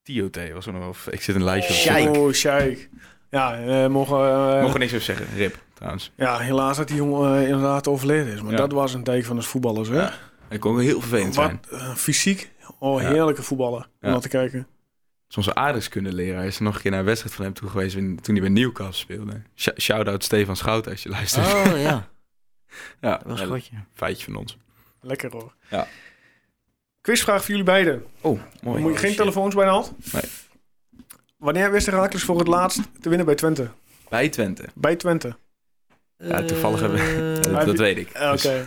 Tio T was er nog wel. f- Ik zit een lijstje op.
Shai. gebeurd.
Oh, Sjaik. Ja, eh, mogen, eh,
Mogen we niks over zeggen. Rip, trouwens.
ja, helaas dat die jongen eh, inderdaad overleden is. Maar
Ja.
dat was een teken van de voetballers, hè?
Ja, Hij kon ook heel vervelend
Wat
zijn.
eh, fysiek. Oh,
Ja.
heerlijke voetballer om
Ja.
naar te kijken.
Soms aardrijkskundeleraar is nog een keer naar een wedstrijd van hem toe geweest toen toen hij bij Newcastle speelde. Sh- Shout-out Stefan Schout als je luistert.
Oh ja,
ja,
dat was
een
goed.
feitje van ons.
Lekker hoor.
Ja.
Quizvraag voor jullie beiden.
Oh, mooi.
Moet je geen
Shit.
telefoons bij de hand?
Nee.
Wanneer wist Herakles voor het laatst te winnen bij Twente?
Bij Twente.
Bij Twente.
Ja, toevallig hebben we...
heb
dat, dat
je-
weet ik.
Eh,
Dus-
Oké.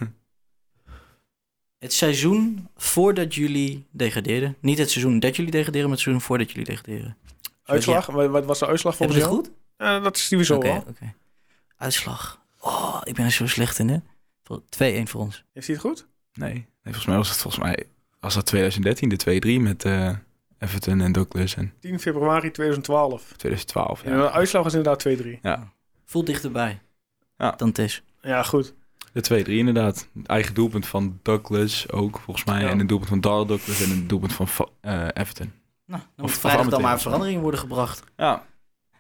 Het seizoen voordat jullie degradeerden. Niet het seizoen dat jullie degraderen, maar het seizoen voordat jullie degraderen.
Uitslag? Wat wat was de uitslag
Hebben
volgens
we het
jou?
goed?
Eh, dat is sowieso
Oké,
wel.
oké. Uitslag. Oh, ik ben er zo slecht in, hè? Voor- 2-1 voor ons.
Heeft hij het goed?
Nee. nee, volgens mij was het volgens mij... Was dat 2013, de 2-3 met eh, Everton en Douglas en
10 februari 2012.
2012.
En de
Ja.
uitslag was inderdaad 2-3.
Voel dichterbij.
Ja.
Dan Tess.
Ja, goed.
De 2-3 inderdaad. Eigen doelpunt van Douglas ook, volgens mij.
Ja.
En een doelpunt van Darl Douglas en een doelpunt van Fa- eh, Everton.
Nou, dan
Of-
moet
of
vrijdag dan
amateur.
maar verandering worden gebracht
Ja.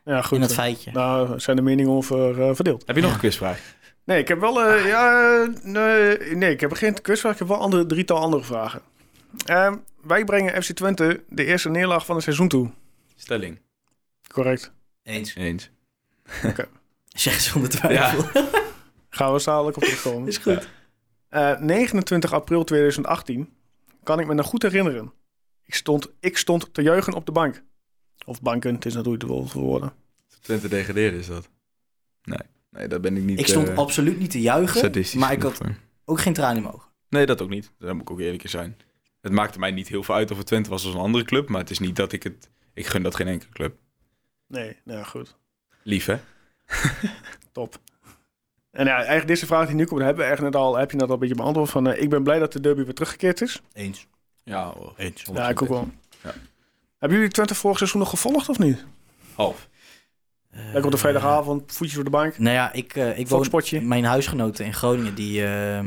Ja, goed.
in dat feitje.
Daar zijn de meningen over eh, verdeeld.
Heb je nog
Ja.
een quizvraag?
Nee, ik heb wel... eh, ja, eh, nee, nee, ik heb geen quizvraag. Ik heb wel andere, drietal andere vragen. Ehm, wij brengen FC Twente de eerste neerlaag van het seizoen toe.
Stelling.
Correct.
Eens.
Eens.
Zeg zonder twijfel.
Gaan we dadelijk op terugkomen.
Is goed.
Eh, 29 april 2018 kan ik me nog goed herinneren. Ik stond, ik stond te juichen op de bank. Of banken, het is natuurlijk de wolf geworden.
Twente degraderen is dat? Nee. Nee, dat ben ik niet...
Ik stond
eh,
absoluut niet te juichen,
sadistisch
maar ik
genoeg
had
voor.
ook geen tranen in mijn ogen.
Nee, dat ook niet. Daar moet ik ook eerlijk in zijn. Het maakte mij niet heel veel uit of het Twente was als een andere club. Maar het is niet dat ik het... Ik gun dat geen enkele club.
Nee, nou ja, goed.
Lief, hè?
Top. En ja, eigenlijk deze vraag die nu komt, hebben we echt net al, heb je net al een beetje beantwoord van... eh, ik ben blij dat de derby weer teruggekeerd is.
Eens.
Ja, eens.
Ja, ik ook wel.
Ja.
Hebben jullie Twente vorig seizoen nog gevolgd of niet?
Half.
Lekker op de vrijdagavond, voetjes op de bank.
Eh, Nou ja, ik, eh, ik woon...
Volkspotje.
Mijn huisgenote in Groningen, die, ehm,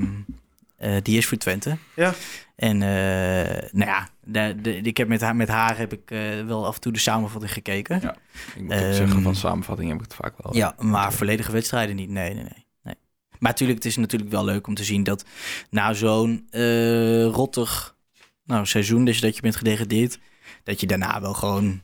eh, die is voor Twente.
Ja.
En eh, nou ja, de, de- ik heb met, haar, met haar heb ik eh, wel af en toe de samenvatting gekeken.
Ja. Ik moet
Ehm,
ook zeggen, van samenvatting heb ik het vaak wel.
Ja, maar volledige wedstrijden niet. Nee, nee, nee. nee. Maar natuurlijk, het is natuurlijk wel leuk om te zien dat na zo'n eh, rottig nou, seizoen, dus dat je bent gedegradeerd, dat je daarna wel gewoon.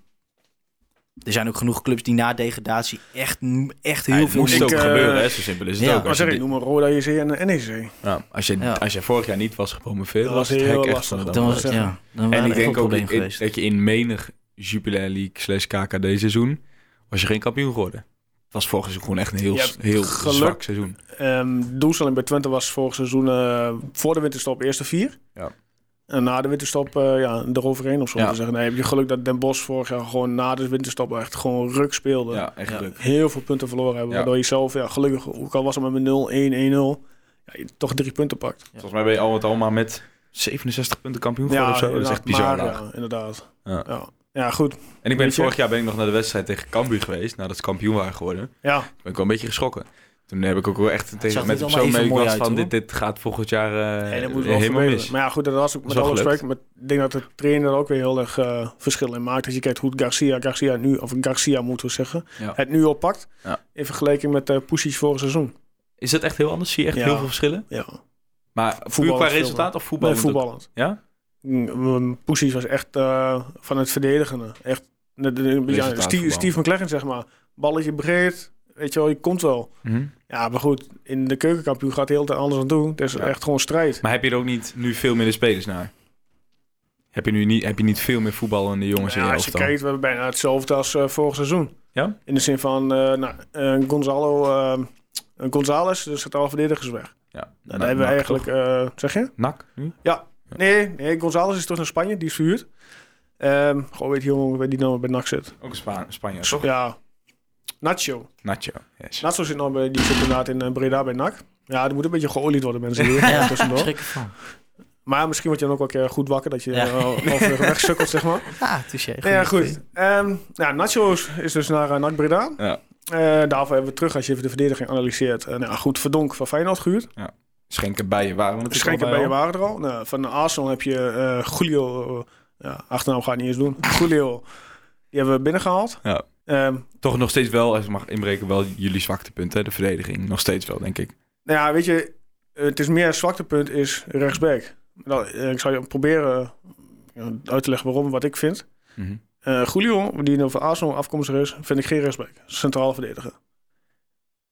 Er zijn ook genoeg clubs die na degradatie echt, echt heel
Ja, het
veel
moest
Ik,
ook
eh,
gebeuren, hè? zo simpel is het
ja.
ook.
Maar
Als je,
zeg ik,
dit-
Oh, noem maar Roda JC en eh, E NEC.
ja, als, je,
Ja.
als je vorig jaar niet was gepromoveerd,
Dat
was
was
het
heel
hek echt
lastig.
van de
Dan
Dan
dam.
was het, ja, dan
En
waren
ik
er echt
denk
wel
ook dat,
problemen geweest.
dat je in menig Jupiler League slash KKD seizoen was je geen kampioen geworden. Het was vorig seizoen gewoon echt een heel,
Je hebt
heel
geluk.
zwak seizoen.
Ehm, de doelstelling bij Twente was vorig seizoen eh, voor de winterstop eerste vier.
Ja.
En na de winterstop eh ja, eroverheen of zo
Ja.
te zeggen. Nee, heb je geluk dat Den Bosch vorig jaar gewoon na de winterstop echt gewoon ruk speelde.
Ja, echt
Ja.
geluk.
Heel veel punten verloren hebben.
Ja.
Waardoor je zelf, ja, gelukkig, ook al was het maar met 0-1, 1-0, ja, je toch drie punten pakt.
Volgens mij ben je al het allemaal met 67 punten kampioen geworden of zo. Dat is echt bizar
inderdaad,
laag.
maar, ja, inderdaad.
Ja.
Ja. Ja. goed.
En ik ben
Weet je?
vorig jaar ben ik nog naar de wedstrijd tegen Cambuur geweest, nadat ze kampioen waren geworden. Toen
Ja,
ben ik wel een beetje geschrokken. Toen heb ik ook wel echt
zag
tegen met
niet
de
allemaal
persoon mee
even mooi
was
uit,
van
hoor.
dit, dit gaat volgend jaar eh,
nee, dat moet wel
helemaal
verbeteren.
mis.
Maar ja, goed, dat was ook met
wel
alle
gelukt.
respect. Maar ik denk dat de trainer er ook weer heel erg eh, verschil in maakt. Als je kijkt hoe Garcia, Garcia nu, of Garcia moeten we zeggen,
Ja.
het nu oppakt.
Ja.
In vergelijking met eh Poesies vorig seizoen.
Is dat echt heel anders? Zie je echt
Ja.
heel veel verschillen?
Ja.
Maar puur
Voetbal
qua
is veel
resultaat of voetbal?
Bij
Want ook-
voetballend.
Ja?
Poesies was echt eh, van het verdedigende. Echt een- een- een beetje
Resultaatvoetbal.
Steve, Steve McLaren, zeg maar. Balletje breed. Weet je wel, je komt wel.
Mhm.
Ja, maar goed, in de keukenkampioen gaat heel wat anders aan doen. Het is
Ja.
echt gewoon strijd.
Maar heb je er ook niet nu veel minder spelers naar? Heb je nu niet, heb je niet veel meer voetballende jongens in
ja,
je
als je
elftal?
kijkt, we hebben bijna hetzelfde als eh, vorig seizoen.
Ja?
In de zin van, eh, nou, eh, Gonzalo, eh, eh, Gonzales, dus het alle verdedigers weg.
Ja,
Nou,
Na-
daar hebben we
Nak,
eigenlijk,
toch?
eh, zeg je?
Nak nu?
Nee, nee, Gonzales is terug naar Spanje, die is verhuurd. Ehm, gewoon weet die jongen bij die nou bij NAC zit.
Ook een Spa Spanje, toch?
Ja, Nacho.
Nacho. Yes.
Nacho zit nog bij die zit inderdaad in eh, Breda bij NAC. Ja, die moet een beetje geolied worden, mensen. Hier, ja. tussendoor.
Schrik ervan.
Maar misschien word je dan ook wel een keer goed wakker, dat je
Ja.
eh, over wegsukkelt, zeg maar.
Ah, touché.
Nou ja, goed. Ehm nou, Nacho is- is dus naar eh, NAC Breda.
Ja.
Eh, daarvoor hebben we terug, als je even de verdediging analyseert. Eh, nou, goed, Verdonk van Feyenoord gehuurd.
Schenken bij je waren we natuurlijk
Schenken bij
allebei
je
al.
waren er al. Nou, van Arsenal heb je eh, Julio... eh, ja, achternaam gaat niet eens doen. Julio, die hebben we binnengehaald.
Ja.
Ehm,
Toch nog steeds wel, als ik mag inbreken, wel jullie zwaktepunten, hè, de verdediging. Nog steeds wel, denk ik.
nou ja, weet je, eh, het is meer een zwaktepunt is rechtsback. Nou, eh, ik zal je proberen eh, uit te leggen waarom, wat ik vind.
Mhm.
Eh Julio, die van Arsenal afkomstig is, vind ik geen rechtsback. Centraal verdediger.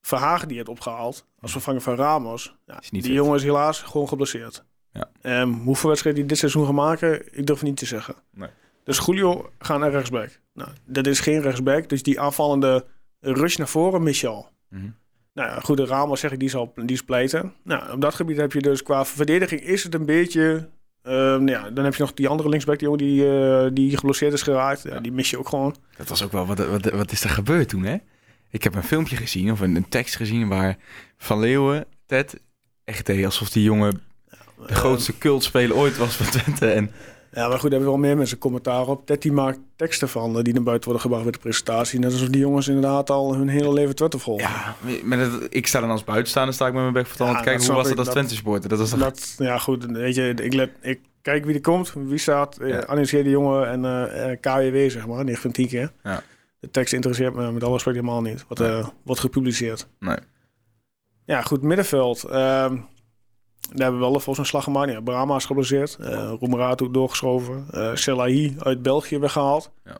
Verhagen die het opgehaald als vervanger van Ramos. Ja,
Is
die
niet fit.
jongen is helaas gewoon geblesseerd.
Ja.
Ehm, hoeveel wedstrijden die dit seizoen gaan maken, ik durf niet te zeggen.
Nee.
Dus Julio gaat naar rechtsback. Nou, dat is geen rechtsback, dus die aanvallende rush naar voren mis je al.
Mhm.
Nou ja, goed, de Ramos zeg ik, die is, al, die is pleiten. Nou, op dat gebied heb je dus qua verdediging is het een beetje... ehm, nou ja, dan heb je nog die andere linksback, die jongen die, eh, die geblesseerd is geraakt. Ja, die mis je ook gewoon.
Dat was ook wel, wat, wat, wat is er gebeurd toen, hè? Ik heb een filmpje gezien, of een, een tekst gezien, waar Van Leeuwen, Ted, echt deed alsof die jongen de grootste cultspeler ooit was van Twente. En
Ja, maar goed, daar hebben we wel meer mensen commentaar op. Ted die maakt teksten van eh, die naar buiten worden gebracht bij de presentatie. Net alsof die jongens inderdaad al hun hele leven Twitter volgen.
ja, maar dat- ik sta dan als buitenstaander, sta ik met mijn bek verteld.
Ja,
te kijken,
dat Nou,
hoe was
snap
dat als
ik,
Twente supporter? Dat was toch...
Dat, ja, goed, weet je, ik, let, ik kijk wie er komt, wie staat, eh,
Ja.
analyseer de jongen en eh, eh, KWW, zeg maar, 9 van 10 keer.
Ja.
De tekst interesseert me met alle respect helemaal niet, wat, eh, wordt gepubliceerd.
Nee.
Ja, goed, middenveld. ehm, daar hebben we wel volgens een slag gemaakt. Ja, Brahma is geblesseerd. eh Roemerato doorgeschoven. eh Selahi uit België weggehaald.
Ja.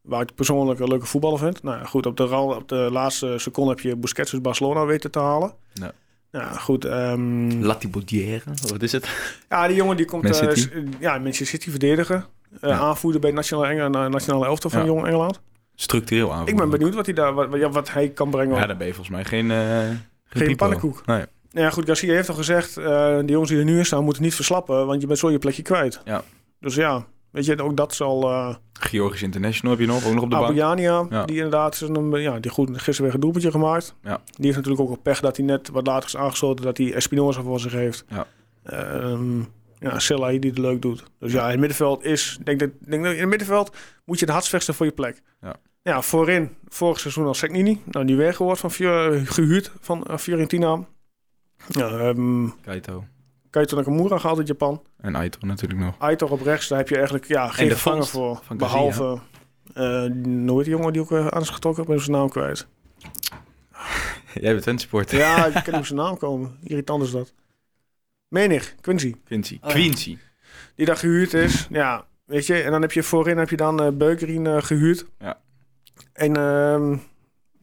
Waar ik persoonlijk een leuke voetballer vind. Nou ja, goed, op de, ra- op de laatste seconde heb je Busquets uit Barcelona weten te halen.
Ja.
Ja, goed. ehm,
Latibodière, wat is het?
ja, die jongen die komt...
Man
eh,
City.
s- eh, ja, Manchester City verdedigen. Eh,
Ja.
Aanvoerder bij de nationale, Eng eh, nationale elftal van
Ja.
Jong Engeland.
Structureel aan.
Ik ben benieuwd wat hij, daar, wat, ja, wat hij kan brengen.
Ja,
Ja,
daar ben je volgens mij geen... eh,
Geen
pipo.
pannenkoek.
Nee.
Nou ja, goed, Garcia heeft al gezegd... eh de jongens die er nu in staan moeten niet verslappen... want je bent zo je plekje kwijt.
Ja.
Dus ja, weet je, ook dat zal... eh
Georgisch International heb je nog, ook nog op de bank.
Abuyania,
Ja.
die inderdaad... zijn, eh, Ja, die goed, gisteren weer een doelpuntje gemaakt.
Ja.
Die heeft natuurlijk ook al pech dat hij net wat later is aangesloten... dat hij Espinoza voor zich heeft.
Ja.
Ehm, ja, Selahi die het leuk doet. Dus ja, in het middenveld is... Denk dat, denk dat in het middenveld moet je het hardst vechten voor je plek.
Ja.
Ja, voorin, vorig seizoen al Segnini. Nou, die weggehoord van, Fior- gehuurd van eh, Fiorentina. Ja, ehm,
Kaito.
Kaito Nakamura gehaald uit Japan.
En Aito natuurlijk nog.
Aitor op rechts, daar heb je eigenlijk ja, geen
de
vervanger
vondst
voor.
van Garcia.
behalve eh nooit die jongen die ook eh, aan is getrokken. Ik ben zijn naam kwijt.
Jij bent Twente-sport.
Ja, ik kan op zijn naam komen. Irritant is dat. Menig, Quincy.
Quincy.
Oh ja.
Quincy.
Die daar gehuurd is. Ja, weet je. En dan heb je voorin heb je dan eh Beukerin eh, gehuurd.
Ja.
En ehm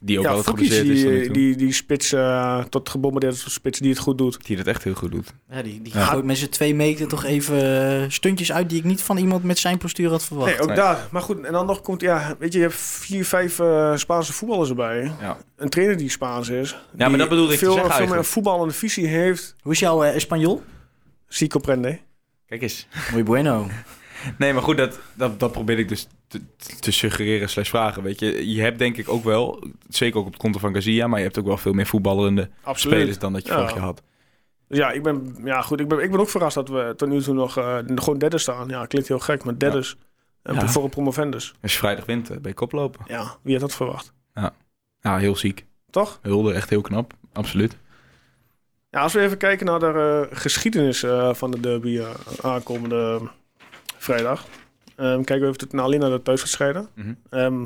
Die ook
ja,
wel wat
Fokkies,
geblesseerd is. tot nu
die,
toe.
die, die spits, eh, tot gebombardeerd is tot spits, die het goed doet.
Die dat echt heel goed doet.
Ja, die die
Ja.
gooit met z'n twee meter toch even eh, stuntjes uit die ik niet van iemand met zijn postuur had verwacht.
Nee, ook
nee.
daar. Maar goed, en dan nog komt, ja, weet je, je hebt vier, vijf eh, Spaanse voetballers erbij.
Ja.
Een trainer die Spaans is.
maar
die
dat bedoelde ik te
veel, Veel
zeggen
meer een
eigenlijk.
voetballende visie heeft.
Hoe is jouw eh Espanol?
Si comprende.
Kijk eens.
Muy bueno.
Nee, maar goed, dat, dat, dat probeer ik dus te, te suggereren slash vragen. Weet je, je hebt denk ik ook wel, zeker ook op het konto van Gazia, maar je hebt ook wel veel meer voetballende spelers dan dat je
Ja.
vorig jaar had.
Dus ja, ik ben, ja, goed, ik ben, ik ben ook verrast dat we tot nu toe nog eh, gewoon derde staan. Ja, klinkt heel gek, maar derders. En
Ja.
voor een promovendus.
Als je vrijdag wint, eh, ben je koplopen.
Ja, wie had dat verwacht?
Ja, heel ziek.
Toch?
Hulde, echt heel knap. Absoluut.
Ja, als we even kijken naar de eh, geschiedenis eh, van de derby eh, aankomende vrijdag. Ehm, kijken we even naar, alleen naar de thuisgescheiden.
Mhm.
Ehm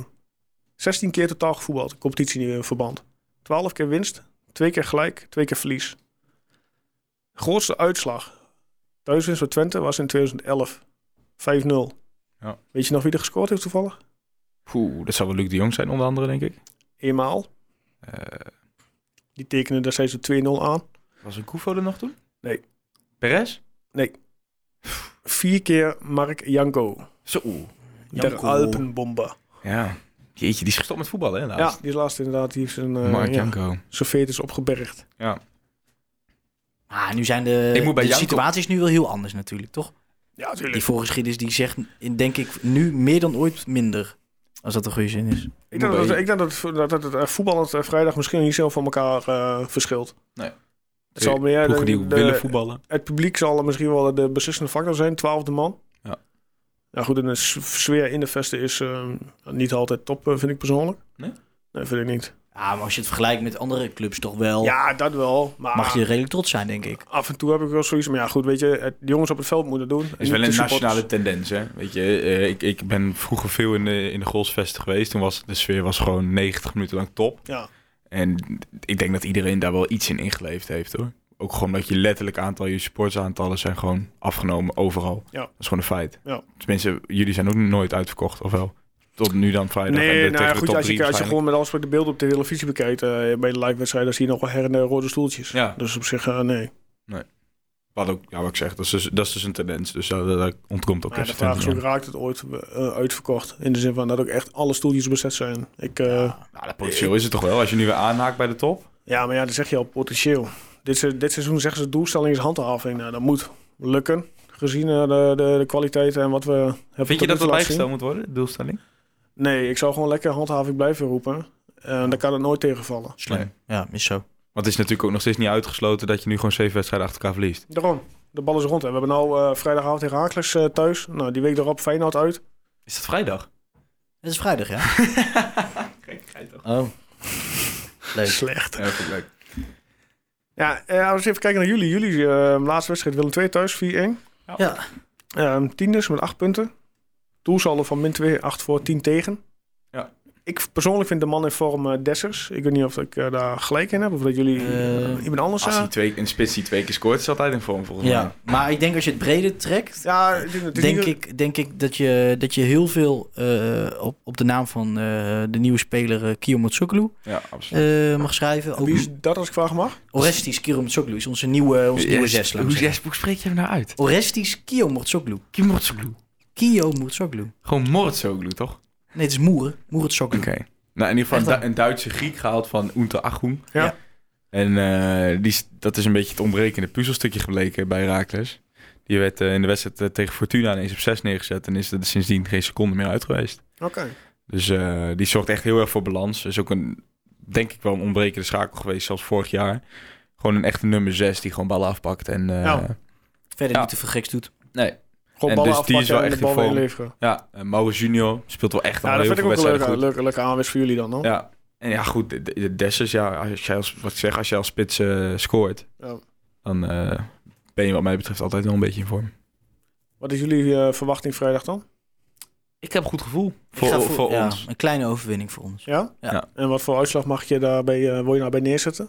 16 keer totaal gevoetbald, competitie in verband. 12 keer winst, 2 keer gelijk, 2 keer verlies. Grootste uitslag, thuiswinst voor Twente, was in 2011. 5-0.
Ja.
Weet je nog wie er gescoord heeft toevallig?
Poeh, dat zou wel Luc de Jong zijn onder andere, denk ik.
Eenmaal.
Eh,
Die tekenen daar steeds een 2-0 aan.
was een Koevo er nog toen?
Nee.
Perez?
Vier keer Mark Janko.
Zo. oeh.
Der Alpenbomber.
Ja. Jeetje, die is gestopt met voetballen, hè?
Ja,
Laatst.
die is laatst inderdaad. Die heeft zijn, eh
Mark
ja,
Janko.
zijn veters opgebergd.
Ah, nu zijn de,
Ik moet bij
de
Janko-
situatie is nu wel heel anders natuurlijk, toch?
Ja,
Die
natuurlijk.
voorgeschiedenis die zegt, in- denk ik, nu meer dan ooit minder. Als dat een goede zin is.
Ik denk dat, het- ik denk dat, het- dat, dat het eh, voetballend eh, vrijdag misschien niet zo van elkaar eh, verschilt.
Nee. Eh,
Het zal meer,
Ploegen die
de- de-
willen voetballen.
het publiek zal misschien wel de beslissende factor zijn, twaalfde man.
Ja.
Ja, goed, en de s- sfeer in de vesten is eh, niet altijd top, eh, vind ik persoonlijk.
Nee?
Nee, vind ik niet.
Ja, maar als je het vergelijkt met andere clubs toch wel,
Oh.
Ja, dat wel. Maar
mag je redelijk trots zijn, denk ik.
af en toe heb ik wel zoiets. Maar ja, goed, weet je, het, de jongens op het veld moeten doen. En
is
niet
wel
de
een
supporters.
nationale tendens, hè? Weet je, eh, ik, ik ben vroeger veel in de, in de Golsvesten geweest. Toen was de sfeer was gewoon 90 minuten lang top.
Ja.
En ik denk dat iedereen daar wel iets in ingeleefd heeft, hoor. Ook gewoon dat je letterlijk aantal, je supportersaantallen zijn gewoon afgenomen overal.
Ja.
Dat is gewoon een feit.
Ja.
Tenminste, jullie zijn ook nooit uitverkocht, of wel? Tot nu dan vrijdag. en de-
Nee,
tegen
nou ja,
de
goed,
top
als
drie
je, als je
waarschijnlijk.
gewoon met alles wat de beelden op de televisie bekijkt, eh, bij de live-wedstrijden zie je nog wel her en der rode stoeltjes.
Ja.
Dus op zich, eh, nee.
Wat ook, ja, wat ik zeg, dat is dus, dat is dus een tendens. Dus dat, dat ontkomt ook
Maar ja,
even
de vraag is ook, raakt het ooit eh, uitverkocht? In de zin van dat ook echt alle stoeltjes bezet zijn. Ik, eh, ja.
Nou, dat potentieel is het toch wel, als je nu weer aanhaakt bij de top?
maar ja, dat zeg je al potentieel. Dit, se- dit seizoen zeggen ze doelstelling is handhaving. Nou, dat moet lukken, gezien eh, de, de, de kwaliteit en wat we hebben
Vind je
tot nu toe
dat dat
laten zien.
bijgesteld moet worden, doelstelling?
Nee, ik zou gewoon lekker handhaving blijven roepen. En dan kan het nooit tegenvallen.
Slim.
Ja, is zo.
Want het is natuurlijk ook nog steeds niet uitgesloten dat je nu gewoon zeven wedstrijden achter elkaar verliest.
Daarom, de bal is rond. En we hebben nou eh, vrijdagavond tegen Heracles eh, thuis. Nou, die week daarop Feyenoord uit.
Is dat vrijdag?
Het is vrijdag, ja? Oh. Leuk.
Slecht.
Ja, dat vind ik leuk.
Ja, eh, als we even kijken naar jullie. Jullie eh, laatste wedstrijd Willem 2 thuis, 4-1.
Ja.
Ehm tiendes met 8 punten. Doelsaldo van min 2, 8 voor, 10 tegen.
Ja.
Ik persoonlijk vind de man in vorm eh, Dessers. Ik weet niet of ik eh, daar gelijk in heb of dat jullie
Eh,
eh, iemand anders
Als hij
zijn.
twee, een spits die twee keer scoort, is altijd in vorm volgens mij.
ja. Maar ik denk als je het breder trekt,
Ja, het is- het is
denk,
niet-
ik, denk ik dat je, dat je heel veel eh, op, op de naam van eh, de nieuwe speler eh, Kio Motsoglu
Ja, absoluut.
eh, mag schrijven. Ook
Wie is dat als ik vragen mag?
Orestis Kio Motsoglu is onze nieuwe, onze nieuwe zes. laat ik zeggen.
hoe spreek je hem nou uit?
Orestis Kio Motsoglu.
Kim Mortsoglu.
Kio Motsoglu.
Gewoon Mortsoglu, toch?
Nee, het is Moeren. Moeretsoglu.
Oké. Nou, in ieder geval
Echt
een,
waar?
Du- een Duitse Griek gehaald van Unter Achum.
Ja.
En eh, die, is- dat is een beetje het ontbrekende puzzelstukje gebleken bij Raakles. Die werd eh, in de wedstrijd eh, tegen Fortuna ineens op 6 neergezet en is er sindsdien geen seconde meer uit geweest.
Oké.
Dus eh, die zorgt echt heel erg voor balans. Is ook een, denk ik wel, een ontbrekende schakel geweest, zoals vorig jaar. Gewoon een echte nummer 6 die gewoon ballen afpakt. En, eh,
Ja.
Verder
Ja.
niet te veel geks doet.
Nee.
Gewoon
En
ballen
dus die
afpakken
is wel
en
echt
de
in
bal weer
vorm.
inleveren.
Ja, en Maurits Junior speelt wel echt
Ja,
aan
dat
heel
vind ik ook
veel
een
wedstrijden
leuke,
goed.
leuke, leuke aanwinst voor jullie dan, hoor.
Ja. En ja, goed, de, de Dessers, ja, als jij als, wat ik zeg, als jij als spits eh, scoort,
Ja.
dan eh, ben je wat mij betreft altijd wel een beetje in vorm.
Wat is jullie eh, verwachting vrijdag dan?
Ik heb een goed gevoel
Ik
voor,
ga
voor,
ja,
ons.
Een kleine overwinning voor ons.
Ja?
Ja.
En wat voor uitslag mag je daarbij, eh, wil je daarbij neerzetten?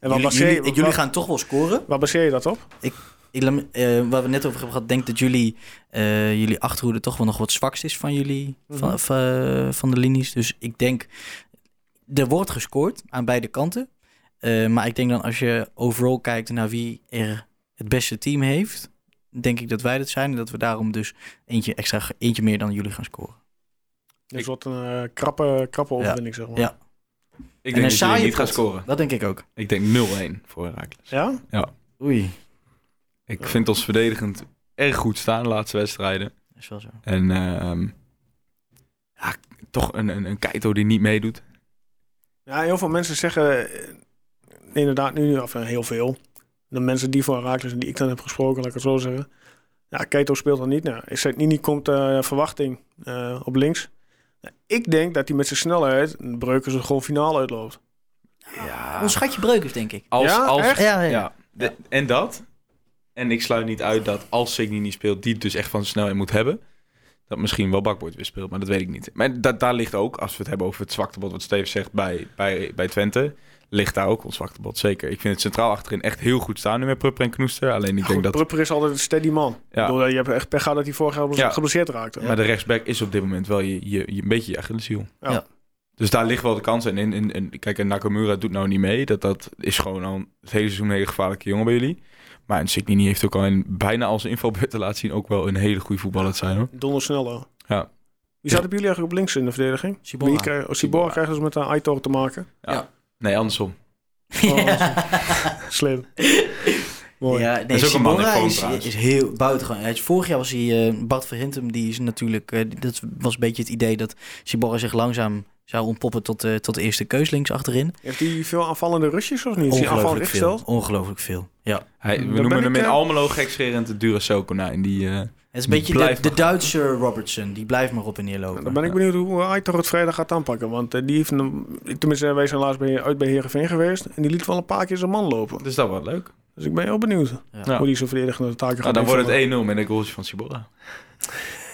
En wat
Jullie,
baseer, je-
jullie,
wat-
jullie gaan toch wel scoren.
waar baseer je dat op?
Ik, laat me- eh, waar we net over hebben gehad, denk dat jullie, eh, jullie achterhoede toch wel nog wat zwakst is van jullie, van, van, van de linies. Dus ik denk, er wordt gescoord aan beide kanten. Eh, maar ik denk dan als je overal kijkt naar wie er het beste team heeft, denk ik dat wij dat zijn. En dat we daarom dus eentje extra, eentje meer dan jullie gaan scoren.
Dus wat een eh, krappe, krappe overwinning, zeg maar.
Ja.
Ik
En een
denk dat jullie
saaie
niet gaan
pot.
scoren.
Dat denk ik ook.
Ik denk 0-1 voor Herakles.
Ja?
Oei,
Ik vind ons verdedigend erg goed staan de laatste wedstrijden.
dat is wel zo.
En ehm, ja, toch een, een, een Keito die niet meedoet.
Ja, heel veel mensen zeggen eh, inderdaad nu, of eh, heel veel, de mensen die voor Herakles en die ik dan heb gesproken, laat ik het zo zeggen. Ja, Keto speelt dan niet. Nou, ik niet komt eh, verwachting eh, op links. Nou, ik denk dat hij met zijn snelheid Breukers er gewoon finale uitloopt.
Ja,
Ons schatje breukers, denk ik.
als,
Ja,
als,
echt?
Ja, ja.
Ja, de- en dat. En ik sluit niet uit dat als Signy niet speelt, die het dus echt van zijn snelheid moet hebben. Dat misschien wel Bakboord weer speelt, maar dat weet ik niet. Maar dat, daar ligt ook, als we het hebben over het zwaktebod, wat Steven zegt bij, bij, bij Twente, ligt daar ook ons zwaktebod, zeker. Ik vind het centraal achterin echt heel goed staan nu met Prupper en Knoester. Alleen ik
Ik
denk dat...
Prupper is altijd een steady man.
Ja.
Ik bedoel, je hebt echt pech gehad dat hij vorig jaar geble-
Ja.
geblesseerd raakte.
Maar de rechtsback is op dit moment wel je, je, je- een beetje je Achilleshiel.
Ja.
Ja.
Dus daar ligt wel de kans. En, in, in, in- kijk, en Nakamura doet nou niet mee. Dat, dat is gewoon al het hele seizoen een hele gevaarlijke jongen bij jullie. Maar en Signini heeft ook al in, bijna als invalbeurt te laten zien ook wel een hele goede voetballer te zijn hoor.
Dondersnel hoor.
Ja.
Wie zaten bij jullie eigenlijk op links in de verdediging?
Sibora.
Wie krijg, oh, Sibora krijgt dus met een Aitor te maken. Oh,
Nee, andersom.
Slim. Mooi.
Ja, nee,
is ook een man in
Simora
vorm
is,
trouwens.
is heel buitengewoon. Hij is- Vorig jaar was hij, eh, Bart Verhintem, die is natuurlijk, eh, dat was een beetje het idee dat Sibora zich langzaam zou ontpoppen tot, eh, tot de eerste keus links achterin.
Heeft hij veel aanvallende rushes of niet? Is hij aanvallend
Ongelooflijk veel.
ingesteld?
Ongelooflijk veel. Ja.
Hij, we
Dan ben
noemen
ik,
hem in
eh,
Almelo gekscherend de Duracell konijn. Die, eh,
Het is een
Die
beetje de,
blijft
de
maar-
Duitse Robertson, die blijft maar op en neer
Nou,
lopen.
Dan ben ik benieuwd hoe Aitor het vrijdag gaat aanpakken. Want eh, die heeft, een, tenminste, eh, wij zijn laatst bij, uit bij Heerenveen geweest. En die liet wel een paar keer zijn man lopen.
dus dat wordt leuk.
Dus ik ben heel benieuwd
Ja.
hoe die zijn verdedigende taken
Nou,
gaat
dan wordt
invullen.
het 1-0 met een goaltje van Sibora.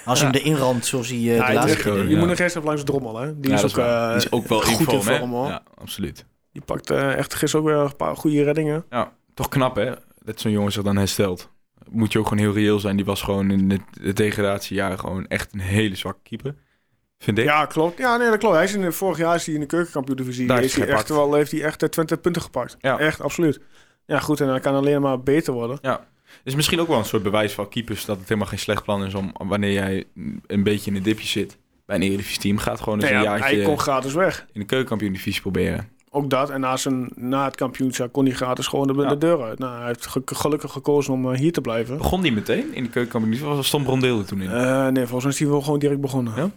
Als hij hem erin ramt, zoals hij eh,
Ja,
de
je
laatste
moet-
keer
keer,
je
ja.
moet nog eens even langs de drommel, hè? Die,
Ja,
is,
dat
ook, eh,
waar. Die is ook wel
goed
in vorm, hè?
hoor.
Ja, absoluut.
Die pakt eh, echt gisteren ook weer een paar goede reddingen.
toch knap hè, dat zo'n jongen zich dan herstelt. Moet je ook gewoon heel reëel zijn. Die was gewoon in het het degradatiejaar gewoon echt een hele zwakke keeper. Vind ik.
Ja, klopt. Ja, nee, dat klopt. Hij is in, vorig jaar is hij in de keukenkampioen-divisie.
Daar
Is
heeft
hij
hij
echt
gepakt.
wel, heeft hij echt eh, 20 punten gepakt.
Ja.
Echt, absoluut. Ja, goed. En hij kan alleen maar beter worden.
Is misschien ook wel een soort bewijs van keepers dat het helemaal geen slecht plan is om wanneer jij een beetje in een dipje zit bij een Eredivisie team. Gaat gewoon eens
Nee,
Dus een
ja,
jaartje
hij kon gratis weg.
in de keukenkampioen divisie proberen.
Ook dat. En na, zijn, na het kampioenschap kon hij gratis gewoon de,
Ja.
de deur uit. Nou, hij heeft ge- gelukkig gekozen om eh, hier te blijven.
Begon die meteen in de keukenkampioen divisie? Was Stom Rondeel er toen in?
Eh, nee, volgens mij is hij wel gewoon direct begonnen.
Ja?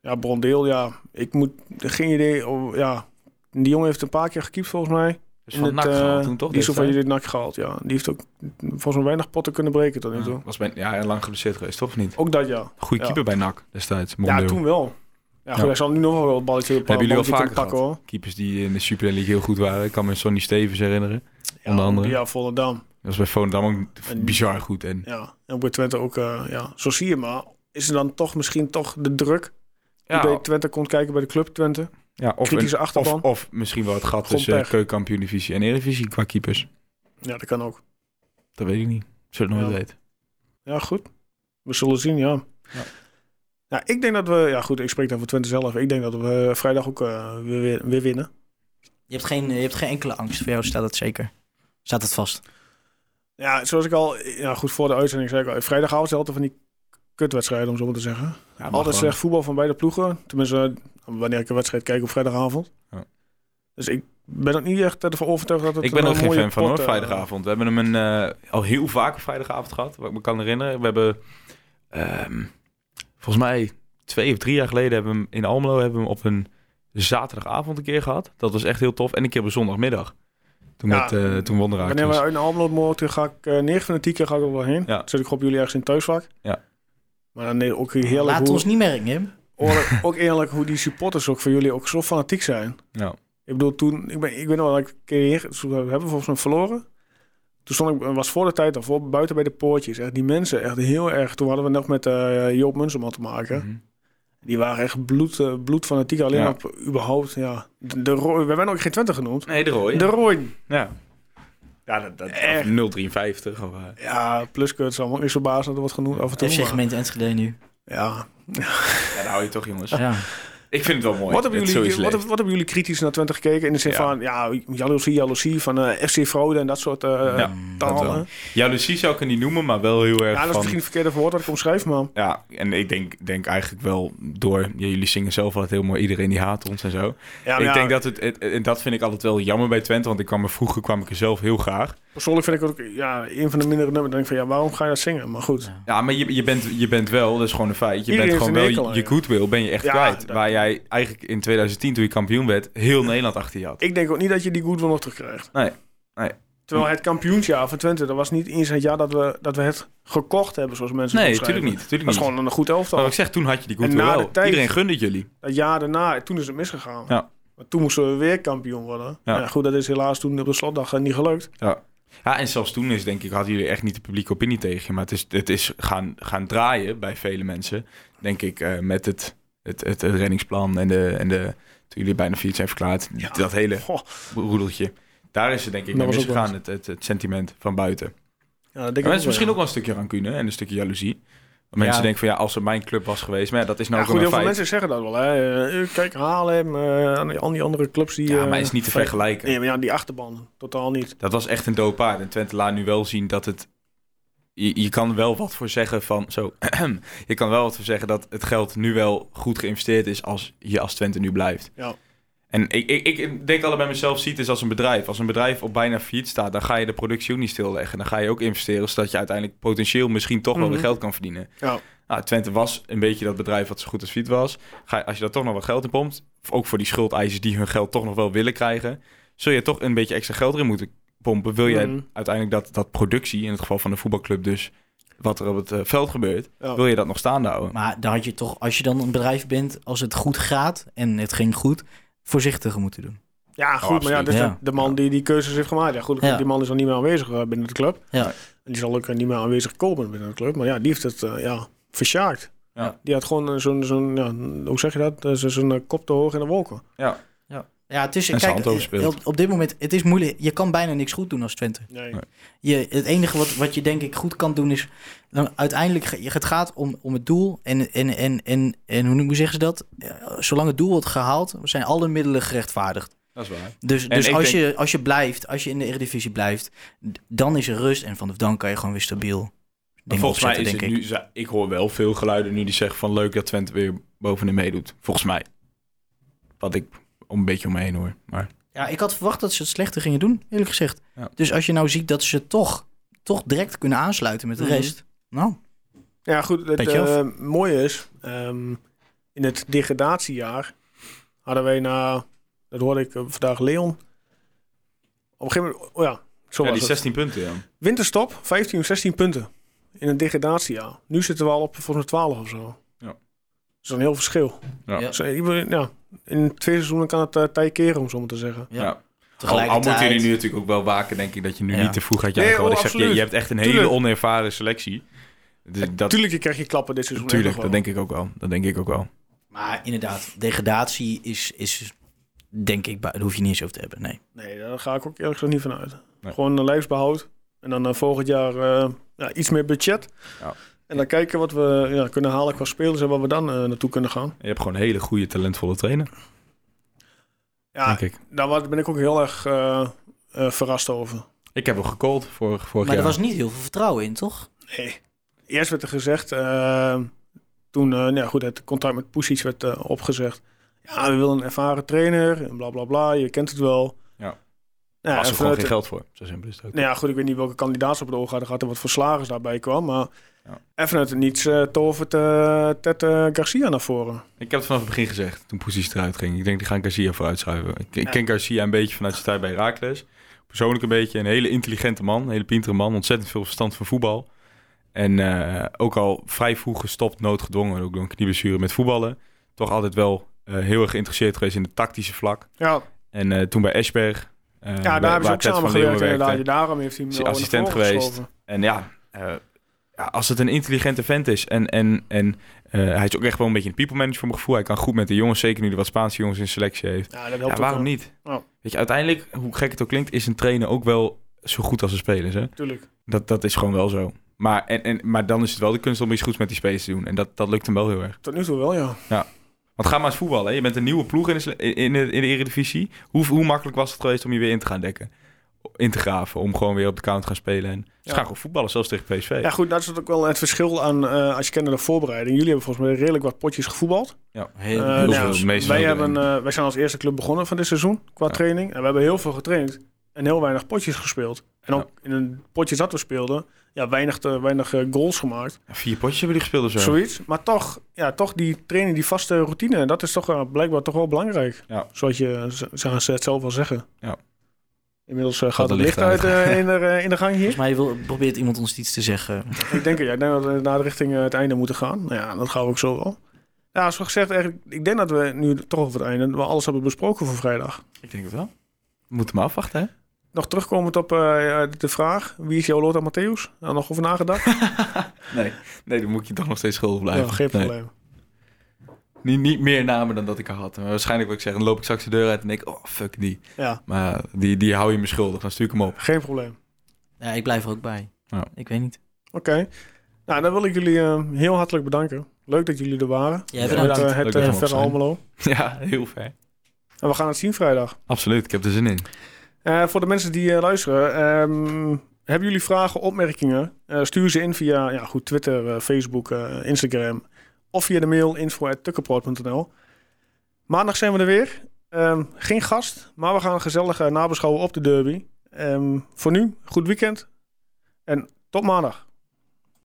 Ja, Brondeel, ja. Ik moet... Geen idee. Oh, ja. Die jongen heeft een paar keer gekiept volgens mij.
Dus
In
van
het,
NAC
eh,
gehaald toen toch?
Die is van
destijds?
dit nak gehaald, ja. Die heeft ook volgens mij weinig potten kunnen breken tot nu toe.
Ja, was bij, ja, lang geblesseerd geweest, toch of niet?
Ook dat, ja.
Goeie
Ja.
keeper bij NAC destijds. Rondeel.
Ja, toen wel. Ja, goed,
Ja.
hij zal nu nog wel wel het balletje op
Hebben jullie wel vaker
pakken hoor.
Keepers die in de Super League heel goed waren. Ik kan me Sonny Stevens herinneren.
Ja,
Onder andere.
Ja, Volendam.
Dat was bij Volendam ook
En-
bizar goed. En
Ja. En bij Twente ook, eh, ja. Zo zie je maar. Is er dan toch misschien toch de druk die bij
ja,
Twente komt kijken bij de club Twente?
ja, of,
kritische
een-
achterban.
Of, of misschien wel het gat
Gewoon
tussen
pech.
keukenkampioen divisie en Eredivisie qua keepers.
Ja, dat kan ook.
Dat weet ik niet. Zullen we het nooit
Ja.
weten.
Ja, goed. We zullen zien, ja.
Ja.
ja. ik denk dat we... Ja, goed, ik spreek dan voor Twente zelf. Ik denk dat we vrijdag ook eh, weer- weer, weer winnen.
Je, hebt geen, je hebt geen enkele angst, voor jou staat dat zeker. Staat het vast.
Ja, zoals ik al... Ja, goed, voor de uitzending zei ik al... Vrijdagavond is altijd van die kutwedstrijden, om zo maar te zeggen.
Ja, maar
Altijd
gewoon-
slecht voetbal van beide ploegen. Tenminste, eh, wanneer ik een wedstrijd kijk op vrijdagavond.
Ja.
Dus ik ben ook niet echt ervan overtuigd dat het
Ik ben
een
er ook geen
mooie
fan van hoor,
pot, eh,
vrijdagavond. We hebben hem een, eh, al heel vaak op vrijdagavond gehad, wat ik me kan herinneren. We hebben, ehm, volgens mij twee of drie jaar geleden, hebben we hem in Almelo hebben we hem op een zaterdagavond een keer gehad. Dat was echt heel tof. En een keer op een zondagmiddag. Toen,
Ja.
met, eh, toen won raakte.
Wanneer we uit naar Almelo moeten, ga ik eh 9 van de 10 keer ga ik er wel heen.
Ja.
Dan zit ik op jullie ergens in het thuisvak.
Ja.
Maar dan nee, ook heerlijk,
Laat
hoe,
ons niet merken, Jim.
oor- ook eerlijk hoe die supporters ook van jullie ook zo fanatiek zijn.
Ja.
Ik bedoel, toen, ik ben, ik ben al een keer, toen hebben we volgens mij verloren. Toen stond ik, was voor de tijd al voor, buiten bij de poortjes. Echt die mensen, echt heel erg. Toen hadden we nog met eh, Joop Munsterman te maken.
Mhm.
Die waren echt bloed, eh, bloedfanatiek. Alleen
Ja.
op, überhaupt, ja. De, de Roy- we werden ook geen Twente genoemd.
Nee, de rooi.
De Roy.
Ja. Ja, dat, dat,
Echt.
0,53. Of, eh,
Ja, pluskut, allemaal niet zo baas dat er wordt genoemd af en toe.
FC
maar-
Gemeente Enschede nu.
Ja.
ja, daar hou je toch, jongens.
Ja.
Ik vind het wel mooi.
Wat hebben,
Het
jullie,
zo is
wat,
leuk.
hebben- wat hebben jullie kritisch naar Twente gekeken? In de zin
Ja.
van, ja, jaloezie, jaloezie, van eh, FC Frode en dat soort eh
Ja, dat wel.
talen.
Jaloezie zou ik het niet noemen, maar wel heel erg
Ja, dat is
van...
misschien het verkeerde woord wat ik omschrijf, maar...
Ja, en ik denk, denk eigenlijk wel door... ja, jullie zingen zelf altijd heel mooi, iedereen die haat ons en zo.
Ja,
ik
maar ja,
denk dat het, het- En dat vind ik altijd wel jammer bij Twente, want ik kwam er, vroeger kwam ik er zelf heel graag.
Persoonlijk vind ik het ook ja, een van de mindere nummers. Dan denk ik van ja, waarom ga je dat zingen? Maar goed.
Ja, maar je, je, bent, je bent wel, dat is gewoon een feit, je
Iedereen
bent gewoon
heeft
wel...
een
Je,
hekel aan
je
je.
goodwill ben je echt
Ja,
kwijt.
dat-
Waar jij eigenlijk in 2010, toen je kampioen werd, heel Nederland achter je had.
Ik denk ook niet dat je die goodwill nog terugkrijgt.
Nee, nee.
Terwijl het kampioensjaar van Twente, dat was niet eens het jaar dat we, dat we het gekocht hebben, zoals mensen het
Nee,
omschrijven.
natuurlijk niet.
Dat
Tuurlijk
is
niet.
gewoon een goed elftal.
Maar wat ik zeg, toen had je die
En
goodwill
na de
wel.
tijd-
Iedereen gunde het jullie.
Dat jaar daarna, toen is het misgegaan.
Ja.
Maar toen moesten we weer kampioen worden.
Ja.
Ja. goed, dat is helaas toen op de slotdag eh, niet gelukt.
Ja, en zelfs toen is denk ik, hadden jullie echt niet de publieke opinie tegen je. Maar het is, het is gaan, gaan draaien bij vele mensen, denk ik, eh, met het, het, het, het reddingsplan en de, en de, toen jullie bijna failliet zijn verklaard, dat hele
Goh,
roedeltje. Daar is het denk ik
Dat
mee
was ook wel
misgegaan, het, het, het sentiment van buiten.
ja, dat denk
En
ik
mensen misschien
wel,
ook wel een stukje rancune en een stukje jaloezie. Want Mensen
Ja.
denken van ja, als het mijn club was geweest, maar ja, dat is
ja.
nou
Ja,
ook
goed,
wel
heel
een
veel
feit.
mensen zeggen dat wel. Hè. Eh, Kijk, Haarlem, eh, aan die- aan die andere clubs die...
Ja, maar
eh,
is niet te
fijn-
vergelijken.
Nee, maar ja, die achterban, totaal niet.
Dat was echt een dood paard. En Twente laat nu wel zien dat het. Je, je kan wel wat voor zeggen van. Zo. je kan wel wat voor zeggen dat het geld nu wel goed geïnvesteerd is. als je als Twente nu blijft.
Ja.
En ik, ik, ik denk altijd bij mezelf: ziet is als een bedrijf. Als een bedrijf op bijna failliet staat. dan ga je de productie ook niet stilleggen. Dan ga je ook investeren. zodat je uiteindelijk potentieel misschien toch wel
Mhm.
weer geld kan verdienen.
Ja.
Nou, Twente was een beetje dat bedrijf wat zo goed als failliet was. Ga, je- als je daar toch nog wat geld in pompt. ook voor die schuldeisers die hun geld toch nog wel willen krijgen. zul je toch een beetje extra geld erin moeten pompen. Wil jij
Mhm.
uiteindelijk dat, dat productie, in het geval van de voetbalclub dus, wat er op het eh, veld gebeurt,
Ja.
wil je dat nog staande houden?
Maar dan had je toch, als je dan een bedrijf bent, als het goed gaat en het ging goed, voorzichtiger moeten doen.
Ja, goed, maar ja,
absoluut.
dat is
Ja.
de- de man die die keuzes heeft gemaakt. Ja, goed,
Ja.
die man is al niet meer aanwezig eh, binnen de club.
Ja.
En die zal ook eh, niet meer aanwezig komen binnen de club. Maar ja, die heeft het eh, ja, versjaakt.
Ja.
Die had gewoon eh, zo'n, zo'n ja, hoe zeg je dat, Eh, zo- zo'n eh, kop te hoog in de wolken.
Ja, het is,
En zijn
kijk, eh,
hand overspeeld.
op, op dit moment, het is moeilijk. Je kan bijna niks goed doen als Twente.
Nee.
Nee.
Je, het enige wat, wat je denk ik goed kan doen is... Dan uiteindelijk, ge- het gaat om, om het doel en, en, en, en, en hoe, hoe zeggen ze dat? Eh, Zolang het doel wordt gehaald, zijn alle middelen gerechtvaardigd.
Dat is waar.
Dus,
En
dus
ik
als,
denk-
je, als je blijft, als je in de Eredivisie blijft... d- dan is er rust en vanaf dan kan je gewoon weer stabiel dingen
volgens mij is
opzetten,
het
denk ik.
nu, ze- ik hoor wel veel geluiden nu die zeggen van leuk dat Twente weer bovenin meedoet. Volgens mij. Wat ik om een beetje om me heen hoor. Maar
Ja, ik had verwacht dat ze het slechter gingen doen, eerlijk gezegd.
Ja.
Dus als je nou ziet dat ze toch, toch direct kunnen aansluiten met de
Mhm.
rest... Nou,
Ja, goed, het
Petje af.
eh, mooie is, ehm, in het degradatiejaar hadden wij na, dat hoorde ik eh, vandaag Leon, op een gegeven moment, oh ja, zo
ja,
was
die
het.
16 punten, ja.
Winterstop, 15 of 16 punten in een degradatiejaar. Nu zitten we al op volgens mij 12 of zo.
Ja.
Dat is een heel verschil.
Ja.
Ja.
Dus, eh, ik ben- ja, in twee seizoenen kan het eh, tij keren, om zo maar te zeggen.
Ja,
Ja. Al, al
tegelijkertijd-
moeten jullie nu natuurlijk ook wel waken, denk ik, dat je nu
Ja.
niet te vroeg gaat
Nee,
jagen. want
oh,
ik zeg, je,
absoluut.
je hebt echt een hele
Tuurlijk.
onervaren selectie. Dus dat,
Tuurlijk, je krijgt je klappen dit seizoen.
tuurlijk,
echt
dat
nog wel.
denk ik ook wel. Dat denk ik ook wel.
Maar inderdaad, degradatie is, is denk ik, bui- daar hoef je niet eens over te hebben. Nee.
Nee, daar ga ik ook eerlijk gezegd niet van uit.
Nee.
Gewoon een lijfsbehoud. En dan eh, volgend jaar eh, ja, iets meer budget.
Ja.
En dan kijken wat we ja, kunnen halen qua spelers en waar we dan eh, naartoe kunnen gaan.
Je hebt gewoon een hele goede, talentvolle trainer,
Ja,
denk ik.
daar wa- ben ik ook heel erg eh, eh, verrast over.
Ik heb hem gecallt vorig, vorig
Maar er
jaar.
was niet heel veel vertrouwen in, toch?
Nee. Eerst werd er gezegd, eh, toen eh, nou ja, goed, het contract met Pusic werd eh, opgezegd. Ja, we willen een ervaren trainer en bla bla bla, je kent het wel.
Ja.
Nou,
was
en
er gewoon
vanuit-
geen geld voor. Zo simpel is het ook.
Nou ja, goed, ik weet niet welke kandidaat ze op het oog hadden gehad en wat voor slagers daarbij kwam. Maar
Ja.
even uit het niets eh tovert eh, Ted eh, Garcia naar voren.
Ik heb het vanaf het begin gezegd, toen Poesies eruit ging. Ik denk, die gaan Garcia voor uitschuiven. Ik, ik ken Garcia een beetje vanuit zijn tijd bij Heracles. persoonlijk een beetje een hele intelligente man, een hele pintere man, ontzettend veel verstand van voetbal. En eh, ook al vrij vroeg gestopt, noodgedwongen, ook door een knieblessure met voetballen. Toch altijd wel eh, heel erg geïnteresseerd geweest in de tactische vlak.
Ja,
En eh, toen bij Esberg. eh, waar-
ja daar
waar
hebben ze ook
Ted van
samen
Leeuwen
gewerkt
werkte.
inderdaad. Daarom heeft hij hem
Is
wel
hij
in de
assistent
voren
geweest?
geschoven.
En ja, eh, ja, als het een intelligente vent is en, en, en eh, hij is ook echt wel een beetje een people manager voor mijn gevoel. Hij kan goed met de jongens, zeker nu hij wat Spaanse jongens in selectie heeft.
Ja, dat helpt
Ja,
ook
waarom
wel.
niet?
Ja.
Weet je, uiteindelijk, hoe gek het ook klinkt, is een trainer ook wel zo goed als een speler. Hè?
Tuurlijk.
Dat, dat is gewoon wel zo. Maar, en, en, maar dan is het wel de kunst om iets goeds met die spelers te doen. En dat, dat lukt hem wel heel erg.
Tot nu toe wel, ja.
Want ga maar eens voetballen. Hè? Je bent een nieuwe ploeg in de, sele- in de, in de Eredivisie. Hoe, hoe makkelijk was het geweest om je weer in te gaan dekken? In te graven, om gewoon weer op de count te gaan spelen. En ze
Ja.
gaan gewoon voetballen, zelfs tegen PSV.
Ja, goed, nou, dat is ook wel het verschil aan, eh, als je kent naar de voorbereiding. Jullie hebben volgens mij redelijk wat potjes gevoetbald.
Heel,
Eh,
heel
nou,
veel,
veel.
het meeste
wij,
wel
hebben,
erin.
eh, wij zijn als eerste club begonnen van dit seizoen qua
Ja.
training. En we hebben heel veel getraind en heel weinig potjes gespeeld. En ook in een potjes dat we speelden, ja, weinig, eh, weinig eh, goals gemaakt.
Vier potjes hebben die gespeeld of zo.
Zoiets. Maar toch, ja, toch die training, die vaste routine, dat is toch eh, blijkbaar toch wel belangrijk.
Ja.
Zoals je eh, z- ze ze het zelf wel zeggen.
Ja.
Inmiddels eh, gaat
Gaat
het
het
licht
licht
uit eh, in, de, eh, in de gang hier.
Volgens mij wil, probeert iemand ons iets te zeggen.
ik, denk, het, ja, ik denk dat we naar de richting eh, het einde moeten gaan. Nou ja, dat gaan we ook zo wel. Ja, zoals gezegd, eigenlijk, ik denk dat we nu toch over het einde wel alles hebben besproken voor vrijdag.
Ik denk het wel. We moeten maar afwachten, hè?
Nog terugkomend op eh, de vraag, wie is jouw Lothar Matthäus? Daar nog over nagedacht?
Nee, nee dan moet je toch nog steeds schuldig blijven.
Ja, geen
Nee.
probleem.
Niet, niet meer namen dan dat ik er had. Maar waarschijnlijk wil ik zeggen, dan loop ik straks de deur uit en denk ik, oh, fuck die.
Ja,
Maar die, die hou je me schuldig, dan stuur ik hem op.
geen probleem.
Ja, ik blijf er ook bij.
Ja.
Ik weet niet.
Oké. Nou, dan wil ik jullie eh, heel hartelijk bedanken. Leuk dat jullie er waren.
Jij
Met eh,
bedankt.
Leuk
het
dat we
eh,
mogen
Verre
zijn.
Almelo.
Ja, heel ver.
En we gaan het zien vrijdag.
Absoluut, ik heb er zin in.
Eh, voor de mensen die eh, luisteren, ehm, hebben jullie vragen, opmerkingen? Eh, stuur ze in via ja, goed, Twitter, eh, Facebook, eh, Instagram of via de mail info.tukkenproot.nl. Maandag zijn we er weer. Ehm, geen gast, maar we gaan gezellig eh, nabeschouwen op de derby. Ehm, voor nu, goed weekend en tot maandag.